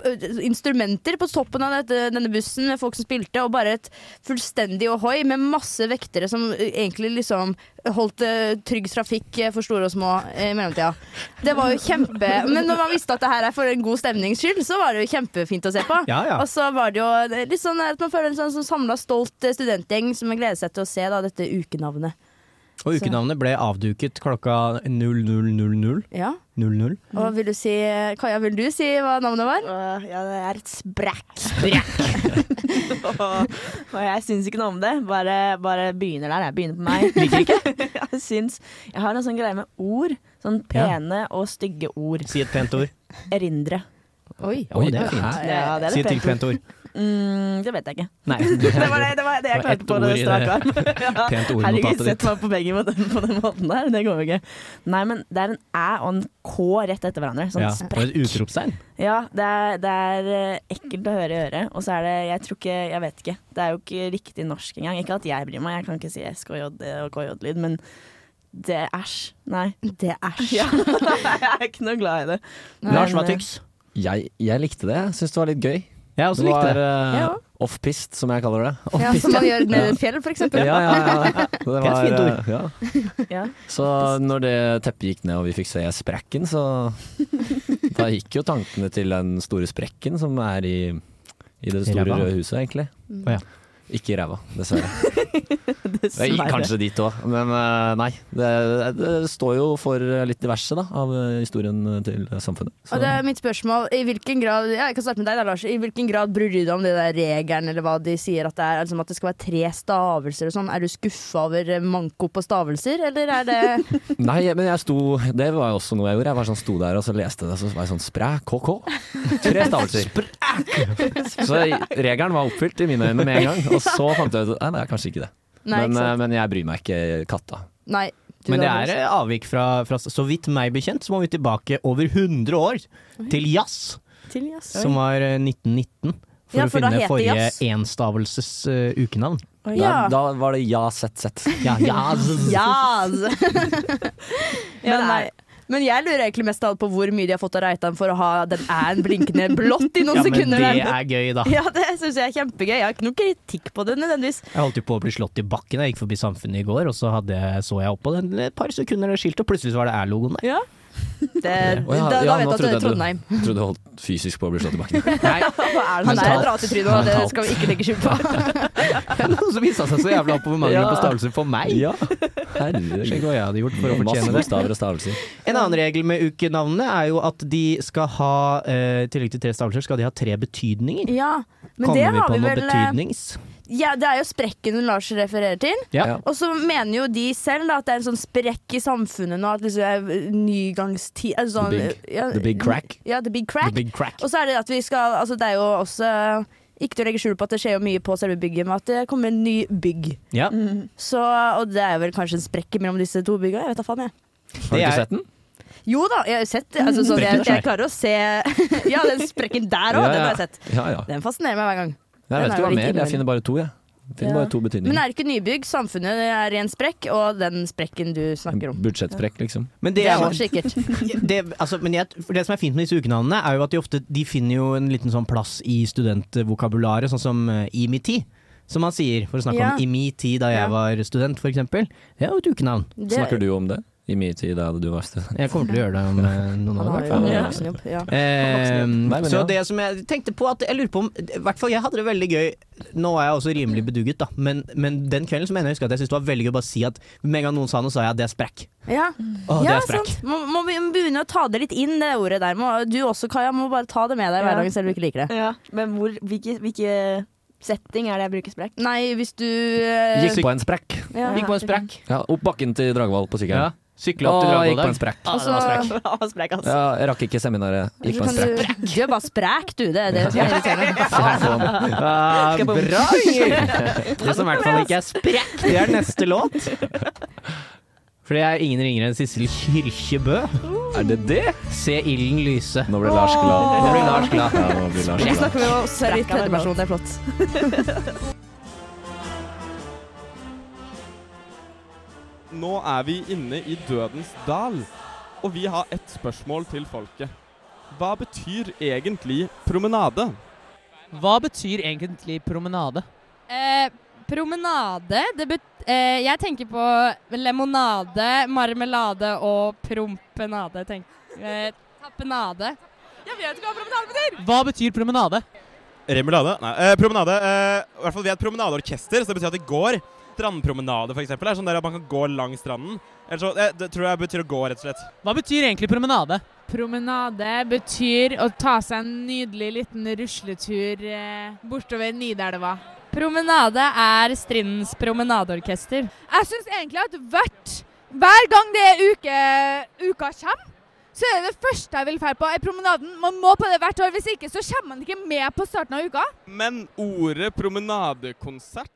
øh, Instrumenter på toppen av dette, denne bussen med folk som spilte, og bare et fullstendig ohoi med masse vektere som øh, egentlig liksom holdt øh, trygg trafikk øh, for store og små øh, i mellomtida. Det var jo kjempe Men når man visste at det her er for en god stemnings skyld, så var det jo kjempefint å se på.
Ja, ja.
Og så var det jo litt sånn at man føler en sånn, sånn samla, stolt eh, studentgjeng som gleder seg til å se da, dette ukenavnet.
Og ukenavnet ble avduket klokka 00.00.
Ja.
00.
Og vil du si, Kaja, vil du si hva navnet var?
ja, det er et sprekk. og, <laughs> og jeg syns ikke noe om det. Bare, bare begynner der. Jeg begynner på
<laughs>
meg. <laughs> jeg, syns, jeg har en sånn greie med ord. Sånn pene og stygge ord.
Si et pent ord.
Erindre.
Oi.
Oi, det er fint.
Ja, det er
si
et
et til pent
<laughs>
ord.
Mm, det vet jeg ikke.
Nei.
<laughs> det, var det, det var det jeg klarte
ett
på
ord
det
i
strak
<laughs>
arm.
det
<laughs> Ja,
pent ordnotatet
Herregud,
ditt.
sett meg på begge på den, på den måten der. Det går jo ikke. Nei, men det er en æ og en k rett etter hverandre. Sånn
Ja, og
sprekk.
et utropstegn.
Ja, det er, det er eh, ekkelt å høre i øret. Og så er det Jeg tror ikke Jeg vet ikke. Det er jo ikke riktig norsk engang. Ikke at jeg bryr meg, jeg kan ikke si SKJ og KJ-lyd, eh, men det er æsj. Nei.
Det er æsj.
Ja, <laughs> jeg er ikke noe glad i det. Men, eh,
Jeg, jeg likte det. Jeg Syns det var litt gøy.
Jeg
også likte det.
var, eh,
Jeg også.
Off-pist, som jeg kaller det.
Ja,
Off-pist,
som man gjør nede i et
Ja.
fjell, for
Ja,
eksempel.
ja, ja.
<laughs>
Det
er
var,
et fint ord.
eh, Ja.
Ja.
Så når det teppet gikk ned og vi fikk se sprekken,
<laughs>
så Da gikk jo tankene til den store sprekken som er i, i det store
Ræva.
røde huset, egentlig.
Mm. Å ja.
Ikke i ræva, dessverre.
<laughs>
Dessverre.
Jeg gikk kanskje dit òg, men eh, nei. Det, det står jo for litt diverse da, av eh, historien til samfunnet. Så-
Og det er mitt spørsmål I hvilken grad ja, Jeg kan starte med deg da, Lars I hvilken grad bryr du deg om det der regelen Eller hva de sier at det er altså, At det skal være tre stavelser og sånn Er du skuffet over eh, manko på stavelser Eller er det
<laughs>
Nei, men jeg sto Det var jo også noe jeg gjorde. Jeg var sånn, sto der og så leste det, så var jeg sånn spræ, KK. Tre stavelser. Så regelen var oppfylt i mine øyne med en gang. Og så fant jeg ut at nei, det er kanskje ikke det.
Nei, ikke
men, eh,
sant.
men jeg bryr meg ikke katta.
Nei du
Men det
da,
er
Lars.
eh, avvik fra, fra Så vidt meg bekjent, så må vi tilbake over 100 år til jazz,
Til jazz.
som var eh, 1919. For
Ja,
å
for da
finne
het det
forrige
jazz.
enstavelses eh, ukenavn.
Oi. Ja.
Da, da var det ja, sett, sett.
Ja,
<laughs>
jazz.
Jazz
<laughs>
Ja,
men,
nei.
altså. men jeg lurer egentlig mest av alt på Hvor mye de har fått av Reitan For å ha den æren blinkende blått I noen
Ja, men
sekunder
det
der.
er gøy, da.
Ja, det synes jeg er kjempegøy Jeg har ikke noe kritikk på det nødvendigvis
Jeg holdt jo på å bli slått i bakken. Jeg gikk forbi Samfunnet i går, og så hadde jeg, så jeg opp på den et par sekunder det skiltet, og plutselig så var det æ-logoen der.
Ja det,
Og jeg-
da, da
ja, nå
vet du at
trodde
det
jeg
er Trondheim
Du, trodde du holdt fysisk på å bli slått i bakken.
<laughs>
<laughs>
Han er et ras i trynet, og det skal vi ikke legge skjul på.
Det er noe som viste seg så jævla på mangelen på stavelse for meg.
Ja.
Skjønner
Herregud.
hva jeg hadde gjort for å fortjene
Masse
det.
bokstaver og stavelser.
En annen regel med ukenavnene er jo at de skal ha, eh, i tillegg til tre stavelser, skal de ha tre betydninger.
Ja, men
Kommer
det
vi
har
på
vi
noe
vel eh,
betydnings?
ja, Det er jo sprekken Lars refererer til.
Ja.
Og så mener jo de selv da, at det er en sånn sprekk i samfunnet nå, at liksom det er nygangstid altså, sånn,
The big-
ja,
the big crack.
Ja, the big crack.
The big crack.
Og så er det at vi skal Altså, det er jo også ikke til å legge skjul på at det skjer jo mye på selve bygget, men at det kommer en ny bygg.
Ja.
Mm.
Så, og det er vel kanskje en sprekk mellom disse to bygga. Jeg vet da faen, jeg.
Har du
Det er-
ikke sett den?
Jo da, jeg har sett det. Altså, sånn, jeg,
Sprekken er svær.
jeg klarer å se <laughs> Ja, den sprekken der òg,
Ja,
den
ja.
har jeg sett.
Ja, ja.
Den fascinerer meg hver gang. Den er
Jeg vet
jo
ikke hva
litt
mer.
innvendig.
Jeg finner bare to, jeg. Finner
Ja.
bare to
Men
betydninger.
er det ikke nybygg? Samfunnet er i en sprekk, og den sprekken du snakker om.
Budsjettsprekk, liksom.
Men
Det
det,
er
er,
også sikkert.
<laughs>
det, altså, men jeg, for det som er fint med disse ukenavnene, er jo at de ofte de finner jo en liten sånn plass i studentvokabularet, sånn som eh, i mi tid. Som man sier, for å snakke
Ja.
om i mi tid da jeg
Ja.
var student, for eksempel. Det er jo et ukenavn.
Det,
Snakker du om det? I min tid da du var student?
Jeg kommer til å gjøre det om eh, noen
Han
år, i
har
hvert
jo
fall.
en voksenjobb. Ja.
Eh,
Nei, men
så
ja.
det som jeg tenkte på at Jeg lurer på om I hvert fall jeg hadde det veldig gøy. Nå er jeg også rimelig bedugget, da, men, men den kvelden så mener jeg å huske at jeg syntes det var veldig gøy å bare si at med en gang noen sa noe, sa jeg at det er sprekk.
Ja.
Å, det
ja,
er sprekk.
sant. Må, må vi begynne å ta det litt inn, det ordet der. Må, du også, Kaja, må bare ta det med deg i
Ja.
hverdagen selv om du ikke liker det.
Ja, men hvor, hvilke, hvilke setting er det jeg bruker sprekk?
Nei, hvis du eh,
Gikk på en sprekk.
ja.
Gikk på en sprekk.
Ja, opp bakken til Dragvoll på
Ja.
sykkelen.
Sykla opp til
Å,
Dragvoll
gikk på
der.
en sprekk.
Altså,
Ja, det var sprekk.
<laughs> sprekk, altså.
Ja, jeg rakk ikke seminaret. Gikk
så
på en
kan
<laughs> sprekk.
du, du er bare sprek, du. Det er det som er
<laughs>
irriterende.
Ah, bra, Inger!
<laughs>
Det som i hvert fall ikke er sprekk, det er neste låt. For det er ingen ringere enn Sissel Kyrkjebø.
Er det det?
Se ilden lyse.
Nå ble Lars glad.
Nå blir Lars glad.
Ja, nå blir Lars
Jeg
glad.
snakker med oss selv
Sprekk er
i
det
tredjeperson, det er flott. <laughs>
<laughs>
Nå er vi inne i dødens dal, og vi har ett spørsmål til folket. Hva betyr egentlig promenade?
Hva betyr egentlig promenade?
Eh, promenade det bet eh, Jeg tenker på lemonade, marmelade og prompenade. Tenk. Eh, tappenade. Jeg vet ikke hva promenade betyr!
Hva betyr promenade?
Remulade? Nei, eh, promenade. Eh, I hvert fall vi er et promenadeorkester, så det betyr at i går
Strandpromenade, f.eks., er sånn der at man kan gå langs stranden. Eller så, eh, det, det tror jeg betyr å gå, rett og slett.
Hva betyr egentlig promenade?
Promenade betyr å ta seg en nydelig liten rusletur eh, bortover Nidelva.
Promenade er Strindens promenadeorkester.
Jeg syns egentlig at hvert, hver gang det er uke, uka kommer, så er det det første jeg vil dra på, er promenaden. Man må på det hvert år, hvis ikke så kommer man ikke med på starten av uka.
Men ordet promenadekonsert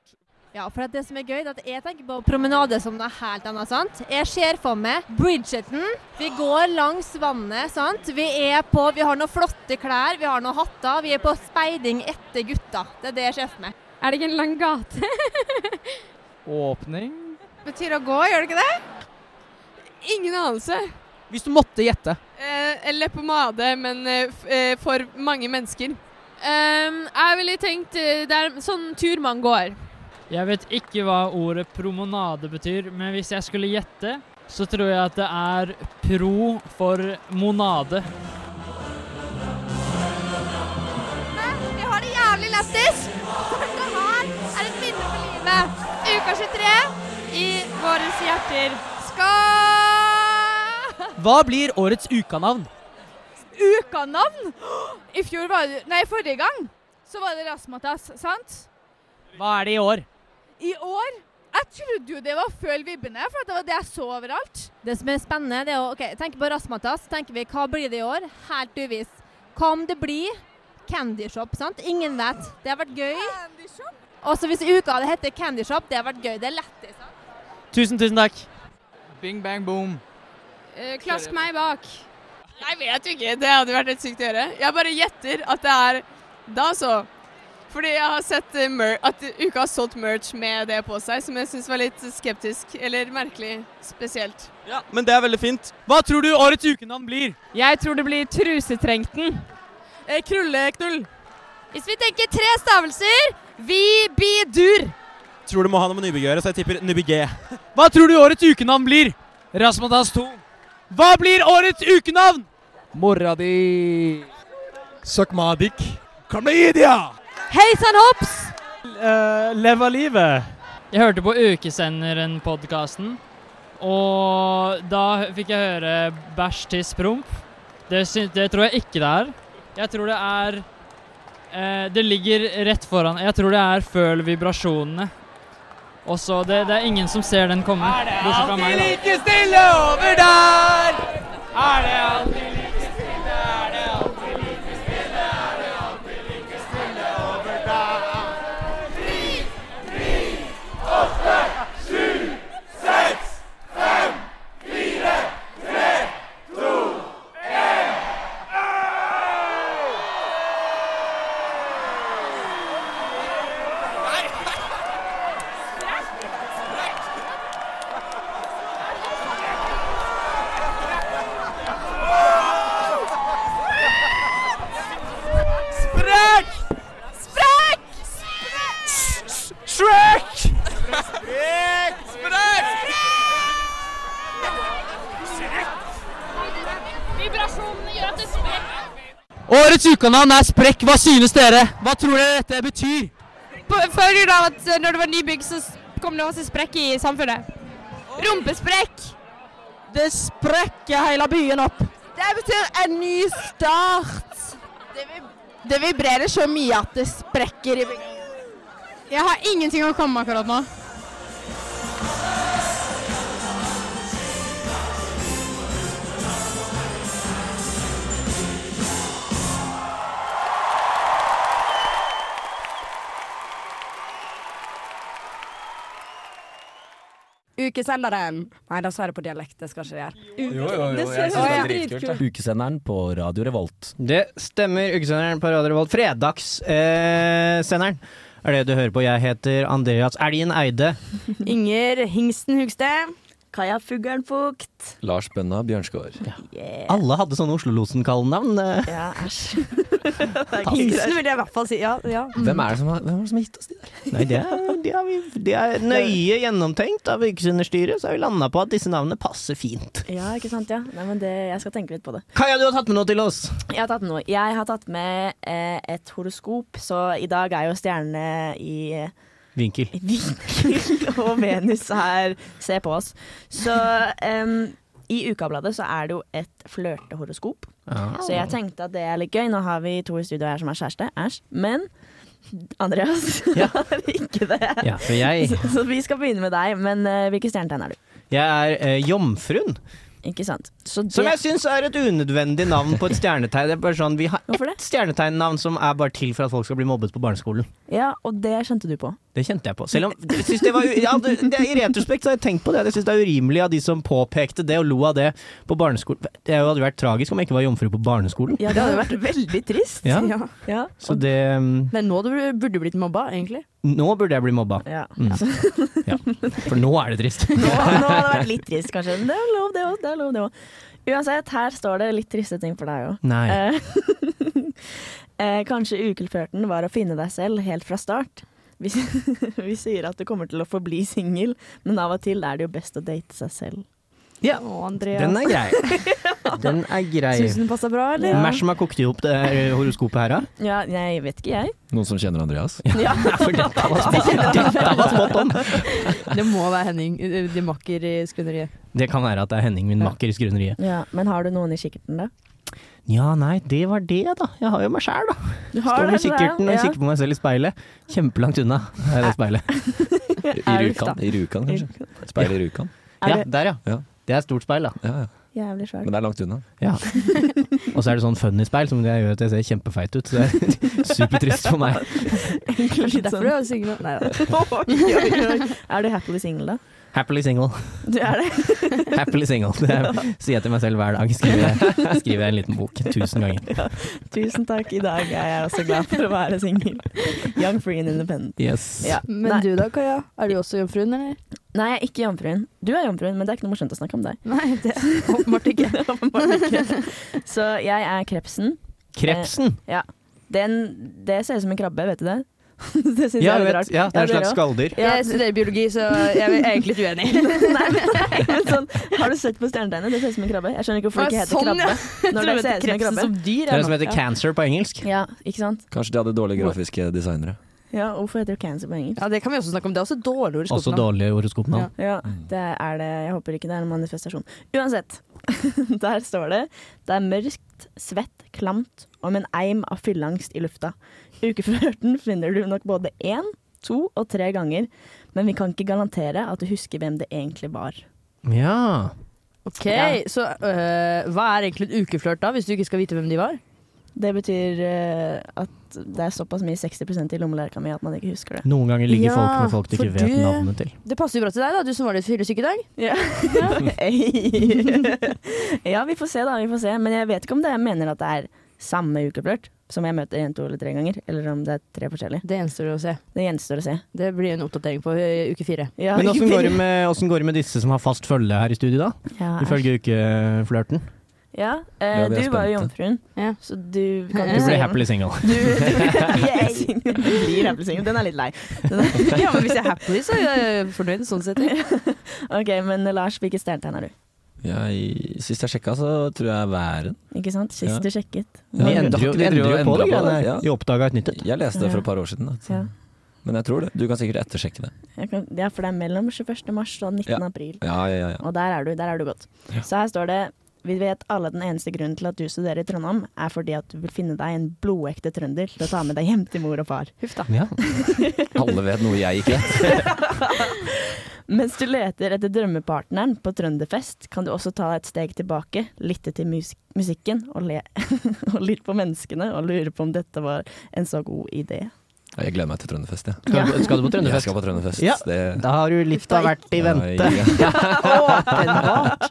Ja, for at det som er gøy, det er at jeg tenker på promenade som noe helt annet. sant? Jeg ser for meg Bridgerton. Vi går langs vannet. sant? Vi er på, vi har noen flotte klær, vi har noen hatter. Vi er på speiding etter gutta. Det er det jeg ser for meg. Er det ikke en lang gate?
Åpning?
Betyr å gå, gjør det ikke det? Ingen anelse.
Hvis du måtte gjette.
Eh, leppepomade, men eh, f eh, for mange mennesker. Ehm, jeg ville tenkt Det er sånn tur man går.
Jeg vet ikke hva ordet promenade betyr, men hvis jeg skulle gjette, så tror jeg at det er pro for monade.
Vi har det jævlig lættis! Dette her er et minne for livet. Uka 23 i våre hjerter. Skal
Hva blir årets ukanavn?
Ukanavn! I fjor var det Nei, forrige gang så var det Rasmatas, sant?
Hva er det i år?
I år <laughs> Jeg trodde jo det var før vibbene, for at det var det jeg så overalt.
Det som er spennende, det er å ok, tenke på Rasmatas. tenker vi, Hva blir det i år? Helt uvisst. Hva om det blir Candy Shop? sant? Ingen vet. Det har vært gøy. Også hvis uka hadde hett Candy Shop, det har vært gøy. Det er lættis.
Tusen, tusen takk.
Bing bang boom.
Eh,
klask meg bak.
Jeg vet jo ikke, det hadde vært helt sykt å gjøre. Jeg bare gjetter at det er da så. Fordi jeg har sett eh, mer at Uka har solgt merch med det på seg, som jeg syns var litt skeptisk, eller merkelig spesielt.
Ja, men det er veldig fint.
Hva tror du årets ukenavn blir?
Jeg tror det blir trusetrengten.
Krulleknull.
Hvis vi tenker tre stavelser vi bidur.
Tror det må ha noe med Nybygg å gjøre, så jeg tipper Nybygg G.
<laughs> Hva tror du årets ukenavn blir? Rasmatas 2. Hva blir årets ukenavn? Mora di Søkmadik.
Klamydia!
Hei sann, hops!
Eh, leve livet. Jeg hørte på Ukesenderen-podkasten, og da hø- fikk jeg høre bæsj, tiss, promp. Det, syn- det tror jeg ikke det er. Jeg tror det er eh, Det ligger rett foran. Jeg tror det er føl vibrasjonene. Og så det, det er ingen som ser den komme. Bortsett fra meg. da.
stille over der? Er det alltid
Sprekk! Sprekk! Shrek! Sprekk! Sprekk!
Vibrasjonene gjør at det sprekker.
Årets ukenavn er Sprekk. Hva synes dere? Hva tror dere dette betyr?
Føler du da at eh, når det var nybygg, så s- kom det masse sprekk i samfunnet? Rumpesprekk.
Det sprekker hele byen opp. Det betyr en ny start. Det, vib det vibrerer så mye at det sprekker i byen.
Jeg har ingenting å komme med akkurat nå.
Ukesenderen. Nei, da sa jeg det på dialekt. Det skal ikke jeg gjøre.
Jo, jo, jo, jeg synes det er dritkult. Ukesenderen på Radio Revolt.
Det stemmer. Ukesenderen på Radio Revolt. Fredagssenderen eh, senderen er det du hører på. Jeg heter Andreas Elgen Eide.
Inger Hingsten Hugstad. Kaja Fuglen Fugt.
Lars Bønna Bjørnskår.
Alle hadde sånne Oslo-losen-kallenavn. eh.
Ja,
<laughs>
æsj. Hingsten vil jeg i hvert fall si. Ja, ja. Mm.
Hvem er det som har, hvem er det som har gitt oss de der?
Nei, det er, det, er vi, det er nøye gjennomtenkt av Ukesenderstyret, så har vi landa på at disse navnene passer fint.
Ja, ikke sant? ja. Nei, men det, Jeg skal tenke litt på det.
Kaja, du har tatt med noe til oss!
Jeg har tatt med noe. Jeg har tatt med eh, et horoskop, så i <laughs> dag er jo stjernene i eh,
Vinkel.
og Venus er Se på oss. Så em, i Ukabladet så er det jo et flørtehoroskop.
Ah.
Så jeg tenkte at det er litt gøy. Nå har vi to i studio her som er kjæreste. Æsj. Men Andreas er ikke det.
Ja, for jeg-
<laughs> så, så vi skal begynne med deg. Men uh, hvilket stjernetegn er du?
Jeg er eh, jomfruen.
Ikke sant.
Som
det-
jeg syns er et unødvendig navn på et stjernetegn. Det er bare sånn, vi har ett stjerneteinnavn som er bare til for at folk skal bli mobbet på barneskolen.
Ja, og det skjønte du på.
Det kjente jeg på.
<laughs>
Selv om jeg synes det var, u- ja, det, det, I retrospekt så har jeg tenkt på det. Jeg syns det er urimelig av de som påpekte det og lo av det på barneskolen. Det hadde vært tragisk om jeg ikke var jomfru på barneskolen.
Ja, det hadde vært veldig trist.
Ja.
Ja.
Så det mm,
Det er nå du burde blitt mobba, egentlig.
Nå burde jeg bli mobba.
Ja.
Mm. ja. For nå er det trist.
<laughs> Nå hadde det vært litt trist, kanskje. Men det er lov, det òg. Det er lov, det òg. Uansett, her står det litt triste ting for deg òg.
Nei.
<laughs> Eh, kanskje ukelførten var å finne deg selv helt fra start. Vi, <laughs> s- vi sier at du kommer til å forbli singel, men av og til er det jo best å date seg selv.
Ja,
Andreas.
<laughs> Den
<laughs>
er grei. Den er grei.
Syns du den passer bra, eller?
Hvem er det som har kokt ihop det her horoskopet her, da?
Ja, jeg vet ikke, jeg.
Noen som kjenner Andreas?
Ja.
For dette var <laughs> spot- dette var spot on!
Det må være Henning, eh, de makker i skrøneriet.
<laughs> Det kan være at det er Henning, min makker i Skrøneriet.
Ja, men har du noen i kikkerten, <laughs> da?
Ja, nei, det var det, da. Jeg har jo meg sjæl, da.
Du
Står med
det, du er-
kikkerten og
ja.
kikker på meg selv i speilet. Kjempelangt unna er det
<laughs>
speilet.
I Rjukan, i Rjukan kanskje? Speil i Rjukan.
Er
Ja,
det-
der, ja. Det er stort speil, da.
Jævlig svært.
Men det er langt unna.
<laughs>
Ja. Og så er det sånn funny speil som det gjør at jeg ser kjempefeit ut. Så det er <laughs> supertrist for
<laughs>
meg.
Kanskje
derfor du er singel
sånn.
nå? Nei da.
<laughs> Er du happily single, da?
Happily single.
Du er det? <laughs>
<laughs> Happily single. Det sier jeg til meg selv hver dag. Skriver jeg, <laughs> skriver jeg en liten bok tusen ganger.
Ja. Tusen takk. I dag er jeg også glad for å være singel. Young, free and independent.
Yes.
<laughs> Ja.
Men
Nei.
du da, Kaja? Er du også jomfruen, eller?
Nei, jeg er ikke jomfruen. Du er jomfruen, men det er ikke noe morsomt å snakke om deg.
Nei, det <laughs> åpenbart ikke.
Åpenbart ikke. <laughs> Så jeg er krepsen.
Krepsen?
Eh, ja. Den, det ser ut som en krabbe, vet du det? <laughs> det synes
Ja,
jeg er
jeg
litt
vet.
rart.
Ja, det er en
dere
slags
også.
skalldyr.
Ja,
Jeg studerer biologi, så jeg er egentlig litt uenig.
Nei, men, <laughs> nei, men <laughs> sånn, har du sett på stjernetegnet? Det ser ut som en krabbe. Jeg skjønner ikke hvorfor det ikke
Å,
heter
sånn, ja.
krabbe. Når det ser ut som
<laughs> Jeg trodde
en
krepsen
krabbe.
som dyr,
Det er det som heter
ja.
cancer på engelsk.
ja, ikke sant?
Kanskje de hadde dårlige grafiske designere.
Ja, hvorfor heter det cancer på engelsk?
Ja, Det kan vi også snakke om. Det er også dårlig ord i
Også
skolen.
dårlig horoskopnavn.
Ja, det er det. Jeg håper ikke det er en manifestasjon. Uansett, <laughs> der står det Det er mørkt, svett, klamt og med en eim av fylleangst i lufta. Ukeførten finner du nok både én, to og tre ganger, men vi kan ikke garantere at du husker hvem det egentlig var.
Ja.
Ok,
Ja.
Så øh, hva er egentlig en ukeflørt da, hvis du ikke skal vite hvem de var?
Det betyr eh, at det er såpass mye 60 i lommelerka mi at man ikke husker det.
Noen ganger ligger
Ja,
folk med folk du ikke
for
vet
det-
navnet til.
Det passer jo bra til deg, da, du som var litt fyllesyk i dag. <laughs>
Ja. ja, vi får se da, vi får se. Men jeg vet ikke om det jeg mener at det er samme ukeflørt som jeg møter en, to eller tre ganger, eller om det er tre forskjellige.
Det gjenstår å se.
Det gjenstår å se.
Det blir en oppdatering på øh, uke fire.
Ja,
Men
ikke
åssen går,
<laughs>
det
fire.
med- hvordan går det med disse som har fast følge her i studio, da?
Ja,
Ifølge ukeflørten.
Ja, eh,
Ja, vi
du
er
var jo
spente.
jomfruen, så du kan
Du
jo
blir
si-
happily single.
Du,
<laughs>
du, Yay! du blir happily single. Den er litt lei. Den er-
<laughs> Ja, men hvis jeg er happy, så er jeg fornøyd sånn sett.
<laughs> OK, men Lars, hvilket stjernetegn er du?
Jeg, sist jeg sjekka, så tror jeg væren.
Ikke sant? Sist
Ja.
du sjekket.
Vi endrer jo,
Vi
vi
driver
endrer jo
og
på det.
endrer på det,
greiene her.
ja.
Vi oppdaga et nytt et.
Jeg leste det for et par år siden, da.
Ja.
men jeg tror det. Du kan sikkert ettersjekke det.
Jeg kan, ja, for det er mellom 21. mars og 19. april.
Ja, ja, ja, ja.
Og der er du, der er du godt. Så her står det Vi vet alle at den eneste grunnen til at du studerer i Trondheim, er fordi at du vil finne deg en blodekte trønder til å ta med deg hjem til mor og far. Huff da.
Ja. Alle vet noe jeg ikke vet.
Mens du leter etter drømmepartneren på trønderfest, kan du også ta et steg tilbake, lytte til mus musikken og le <laughs> og lytte på menneskene og lure på om dette var en så god idé.
Ja, Jeg gleder meg til Trønderfest, jeg.
Skal du- skal du på Trønderfest?
Jeg skal på Trønderfest.
Ja,
Det
Da har du litt av hvert i vente. <laughs>
Ja, <laughs>
Åpenbart!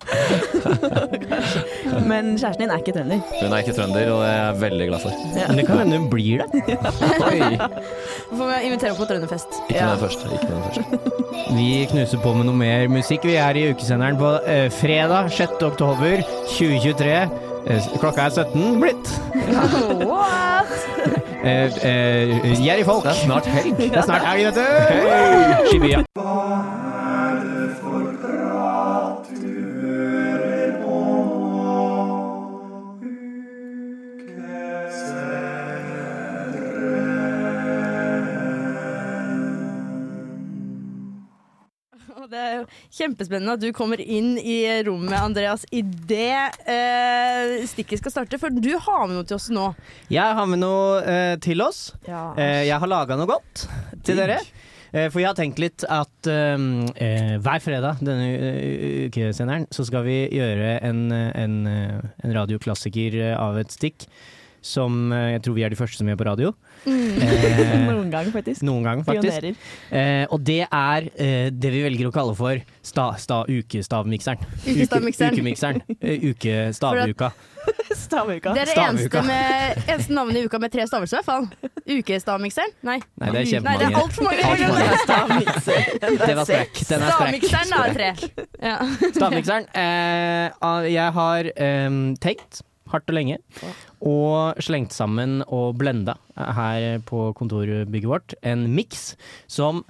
Men kjæresten din er ikke trønder.
Hun er ikke trønder, og det er jeg veldig glad for.
Ja. Men det kan
hende hun blir det.
Får vi invitere opp på Trønderfest.
Ikke med den første. Ikke med den første.
<laughs> Vi knuser på med noe mer musikk. Vi er i ukesenderen på eh, fredag 6. oktober 2023. Eh, klokka er 17 blitt.
What?
Eh, eh, Gjerrig folk. Det er snart helg. Det er snart helg, vet du. I bya.
Ukesenderen.
Kjempespennende at du kommer inn i rommet, Andreas, idet eh, stikket skal starte. For du har med noe til oss nå.
Jeg har med noe eh, til oss. Eh, jeg har laga noe godt til dere. Eh, for jeg har tenkt litt at ehm, eh, hver fredag denne eh, ukesenderen så skal vi gjøre en, eh, en, eh, en radioklassiker eh, av et stikk. Som eh, jeg tror vi er de første som gjør på radio. Eh,
Mm. <laughs> Noen gang, faktisk.
Noen gang, faktisk.
Pionerer.
Eh, og det er eh, det vi velger å kalle for sta, sta, ukestavmikseren.
Ukestavmikseren.
Uke-
<laughs>
Ukemikseren. Eh, Ukestavuka.
Stavuka.
Det er det
Stavuka.
eneste, med, eneste navnet i uka med tre stavelser, i hvert fall. Ukestamikseren? Nei.
Nei, det er
Nei,
kjempemange.
det er altfor mange.
Altfor mange. Det var sprekk. Den er sprekk.
Stavmikseren da, er tre. Ja.
Stavmikseren. Eh, ah, jeg har eh, tenkt hardt og lenge, og slengt sammen og blenda eh, her på kontorbygget vårt en miks som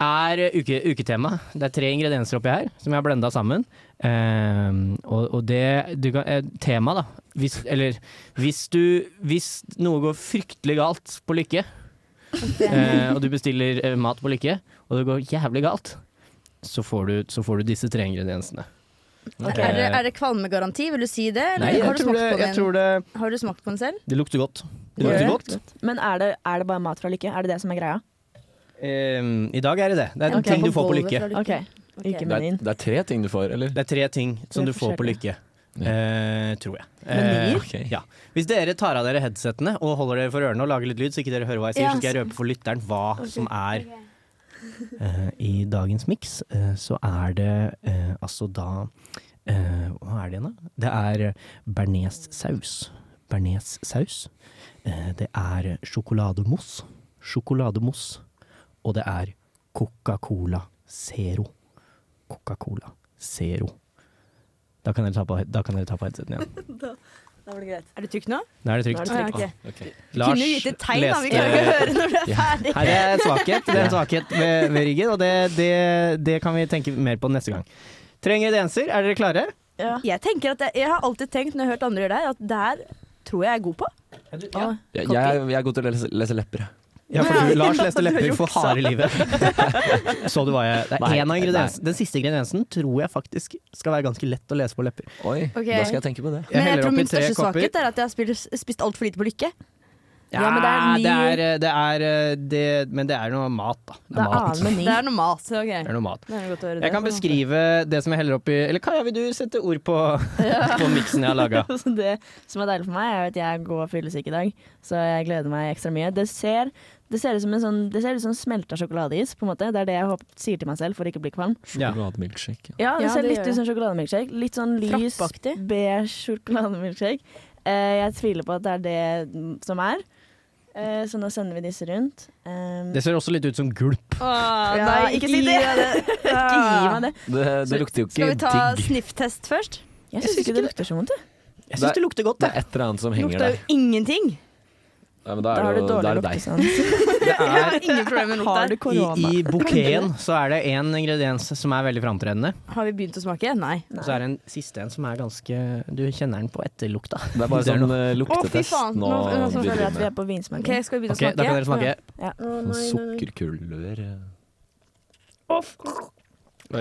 er uke, uketema. Det er tre ingredienser oppi her som jeg har blenda sammen. Eh, og, og det du kan, eh, Tema, da. Hvis, eller hvis du Hvis noe går fryktelig galt på
<laughs>
Lykke, eh, og du bestiller eh, mat på Lykke, og det går jævlig galt, så får du, så får du disse tre ingrediensene.
Er, det, er det kvalmegaranti? Vil du si det? eller
Nei, jeg
har du
tror
smakt
det-
på
jeg
den?
tror det-
Har du smakt på den selv?
Det lukter godt.
Gjør
Det lukter
det?
godt.
Men er det, er det bare mat fra Lykke? Er det det som er greia?
Ehm, I dag er det det. Det er
Ok.
ting du får på Lykke.
Ok,
<laughs>
Ukemenyen.
det er tre ting du får, eller? Det er tre ting som
Tre
du får på
forskjellige.
Lykke. Eh, tror jeg.
Menyer?
Eh, ja. Hvis dere tar av dere headsettene og holder dere for ørene og lager litt lyd, så ikke dere hører hva jeg sier,
Ja.
så skal jeg røpe for lytteren hva
Ok.
som er Eh, I dagens miks eh, så er det eh, altså da eh, Hva er det igjen, da? Det er eh, bearnéssaus. Bearnéssaus. Eh, det er sjokolademousse. Sjokolademousse. Og det er Coca-Cola Zero. Coca-Cola Zero. Da kan dere ta på, da kan dere ta på headseten igjen.
Da, var det greit.
Er det trygt nå?
Nå er det trygt.
Nå er det trygt.
Ah, ok.
Kunne du gitt et tegn, da? Vi klarer ikke å høre når du er
Ja.
ferdig.
Nei, det er en svakhet, det er en svakhet ved, ved riggen, og det, det, det kan vi tenke mer på neste gang. Tre ingredienser, er dere klare?
Jeg tenker at jeg, jeg har alltid tenkt når jeg har hørt andre gjøre det, her, at der tror jeg jeg er god på. Å,
Jeg, jeg, jeg er god til å lese, lese lepper.
Ja, for du, Lars <laughs>
<laughs>
leste lepper for harde livet.
<laughs>
<laughs> Så du hva jeg Det
Nei,
er en av
nei.
ingrediensene. Den siste ingrediensen tror jeg faktisk skal være ganske lett å lese på lepper. Oi,
Ok. da skal jeg
tenke på det.
Men jeg tror min største svakhet er at jeg har spist, spist altfor lite på lykke.
Ja,
Ja, men det er ny-
det er, eh, det er, det, men det er noe mat, da.
Det er
mat.
annen meny. Det er noe mat. Ah, så ok.
Det er noe mat.
Det er godt å høre det.
Jeg kan beskrive det som jeg heller oppi Eller Kaja, vil du sette ord på, <laughs> på miksen Sånn jeg har laga?
<laughs> Så det som er deilig for meg, er at jeg går fyllesyk i dag, så jeg gleder meg ekstra mye. Det ser, det ser ut som en sånn, det ser ut som smelta sjokoladeis, på en måte. Det er det jeg håper, sier til meg selv for ikke å bli kvalm.
Sjokolademilkshake.
Ja, det
Ja,
ser
det
litt
gjør
ut som sjokolademilkshake. Litt sånn lys, beige sjokolademilkshake. Eh, jeg tviler på at det er det som er, eh, så nå sender vi disse rundt. Eh,
Det ser også litt ut som gulp.
ja,
nei,
ikke
ikke
si
gi
det!
meg det. <laughs>
ikke gi meg det.
Det, det lukter jo
Skal
ikke
vi ta
digg.
<laughs> snifftest først?
Jeg syns ikke det lukter så vondt,
Jeg syns det lukter godt,
Det er et eller annet som henger
Lukter
der.
jo ingenting.
Ja, men da
Da har
er det,
du
jo-
dårlig
da er det deg.
<laughs> sånn.
<laughs>
Jeg har ingen problemer med
Har du
lukta.
I, I bouqueten så er det én ingrediens som er veldig framtredende.
<laughs> Har vi begynt å smake? Nei.
Og så er det en siste en som er ganske Du kjenner den på etterlukta.
Det er bare
Hvis <laughs> det er
sånn
noe.
eh, luktetest nå.
nå føler jeg at vi er
begynner
på vinsmaking.
Ok, skal vi begynne
Ok,
å
da
smake?
kan dere smake.
Ja.
med. Sånn sukkerkulør.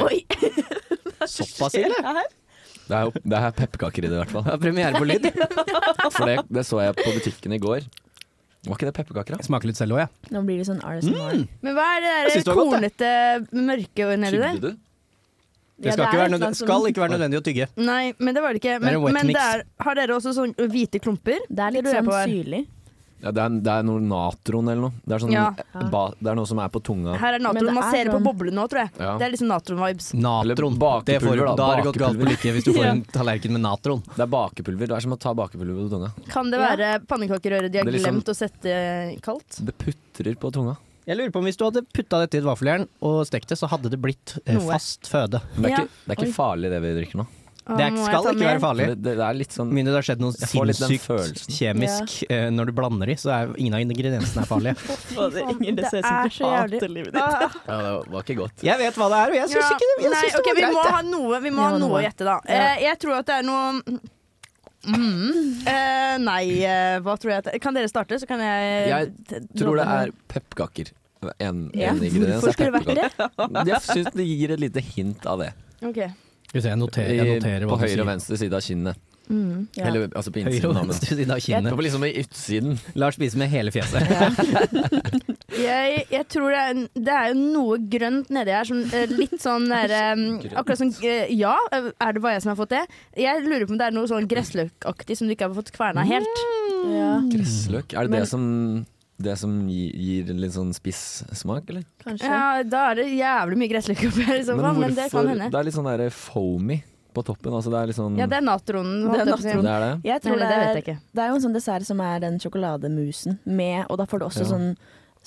Oi!
<laughs> Såpass ille? Det er, jo- det er pepperkaker i det, i hvert fall.
Det er premiere på
<laughs>
lyd.
For det, det så jeg på butikken i går. Var ikke det pepperkaker, da?
Smaker litt selv òg, jeg.
<laughs> Nå blir det sånn RSMR.
Men hva er det
Mm. Jeg synes
der
det var godt,
kornete, mørke nedi der?
du?
Det skal, ikke være nødvendig,
sånn-
skal ikke være nødvendig å tygge.
Nei, men det var det ikke.
Det er
Men,
en wet
men det
mix.
er, har dere også sånne hvite klumper?
Det er litt
lurer jeg
sånn
på her.
syrlig.
Ja, det, er, det er noe natron eller noe. Det er, sånn,
Ja.
ba, det er noe som er på tunga.
Her er
Men det
natron. Man
er
ser det på
sånn-
boblene nå, tror jeg.
Ja.
Det er liksom natron-vibes.
Natron. Det får,
bakepulver, da.
da har det gått galt på
Bakepulver.
lykke hvis du
<laughs>
får
Ja.
en tallerken med natron.
Det er bakepulver. Det er som å ta bakepulver på tunga.
Kan det være pannekakerøre de har
Det er liksom-
glemt å sette kaldt?
Det putrer på tunga.
Jeg lurer på om Hvis du hadde putta dette i et vaffeljern og stekt det, så hadde det blitt eh,
Noe.
fast føde.
Men det er
Ja.
ikke, det er ikke
Oi.
farlig det vi drikker nå.
Det
Å,
er,
må jeg
skal
ta
ikke være
mer?
farlig.
Det, det er litt sånn
Mindre det har skjedd noe
Jeg får litt den
sinnssykt kjemisk eh, når du blander i, så er ingen av ingrediensene er farlige.
Fader, Ingrid, det ser ut som
er
du
så
hater
jævlig.
livet ditt. <laughs>
Ah.
<laughs> Ja, det var ikke godt.
Jeg vet hva det er, og jeg syns
Ja,
ikke det, jeg
nei,
syns det
ok,
var greit.
Vi må
jeg.
ha noe, vi
Vi
må ha noe å gjette, da.
Ja.
Eh, jeg tror at det er noe mm, eh, Nei, eh, hva tror jeg at Kan dere starte, så kan jeg
Jeg tror det er pepperkaker. en,
Ja,
en ingrediens.
hvorfor
er
skulle det vært
pepperkake.
det?
<laughs> Jeg syns det gir et lite hint av det.
Ok.
Hvis jeg noterer,
I-
jeg noterer hva
på
du
høyre og
sier.
venstre side av kinnet.
Mm, ja.
Eller altså på
Høyre
innsiden.
og
da, men-
venstre side av kinnet.
Det var liksom i utsiden.
Lars spiser med hele fjeset.
Jeg, jeg tror det er, en- det er jo noe grønt nedi her, som eh, litt sånn der, eh, Akkurat som eh, Ja, er det bare jeg som har fått det? Jeg lurer på om det er noe sånn gressløkaktig som du ikke har fått kverna helt.
<laughs>
Gressløk. Er det
Men-
det som, det som gir, gir litt sånn spissmak, eller?
Ja, da er det jævlig mye <laughs> gressløk oppi her i så fall, men det kan hende.
Det er litt sånn der foamy på toppen. Altså det er litt sånn
Ja, det er natronen.
Det er
holdt jeg på å si.
natronen.
Det er det?
Jeg tror
Nei,
det,
det
er,
vet jeg ikke.
det er jo en sånn dessert som er den sjokolademusen med, og da får du også
Ja.
sånn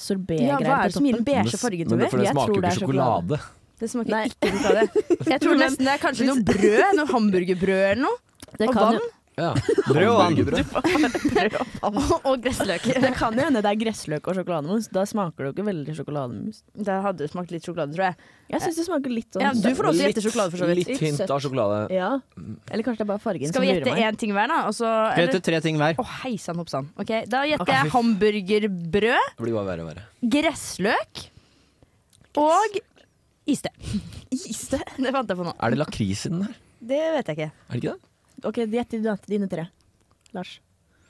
Ja,
sorbetgreier på toppen.
hva er det som gir den beige fargen til
Men det- For det
Jeg
smaker
tror
jo
det
ikke
er
sjokolade.
Det smaker ikke sjokolade. Jeg tror nesten det er kanskje noe brød, noe hamburgerbrød eller noe. og
kan
vann.
Ja.
Brød og vann.
<laughs> og gressløk.
<laughs> <laughs> Det kan jo hende det er gressløk og sjokolademus. Da smaker det jo ikke veldig sjokolademus.
Da hadde det smakt litt sjokolade, tror jeg.
Jeg syns det smaker litt sånn
Ja, du får også gjette sjokolade, for så vidt.
Litt hint av sjokolade.
Ja. Eller kanskje det er bare fargen
Skal vi
som
gjette
lurer meg.
én ting hver, da? Og så,
Skal jeg gjette tre ting hver?
Å, hei sann, hopp sann. sånn. Ok, Da gjetter
Ok.
jeg hamburgerbrød,
Det blir bare verre og verre.
gressløk og iste. Iste? Det fant jeg på nå.
Er det lakris i den der?
Det vet jeg
<laughs>
ikke.
Er det ikke det?
Ok, gjett dine- dine tre. Lars.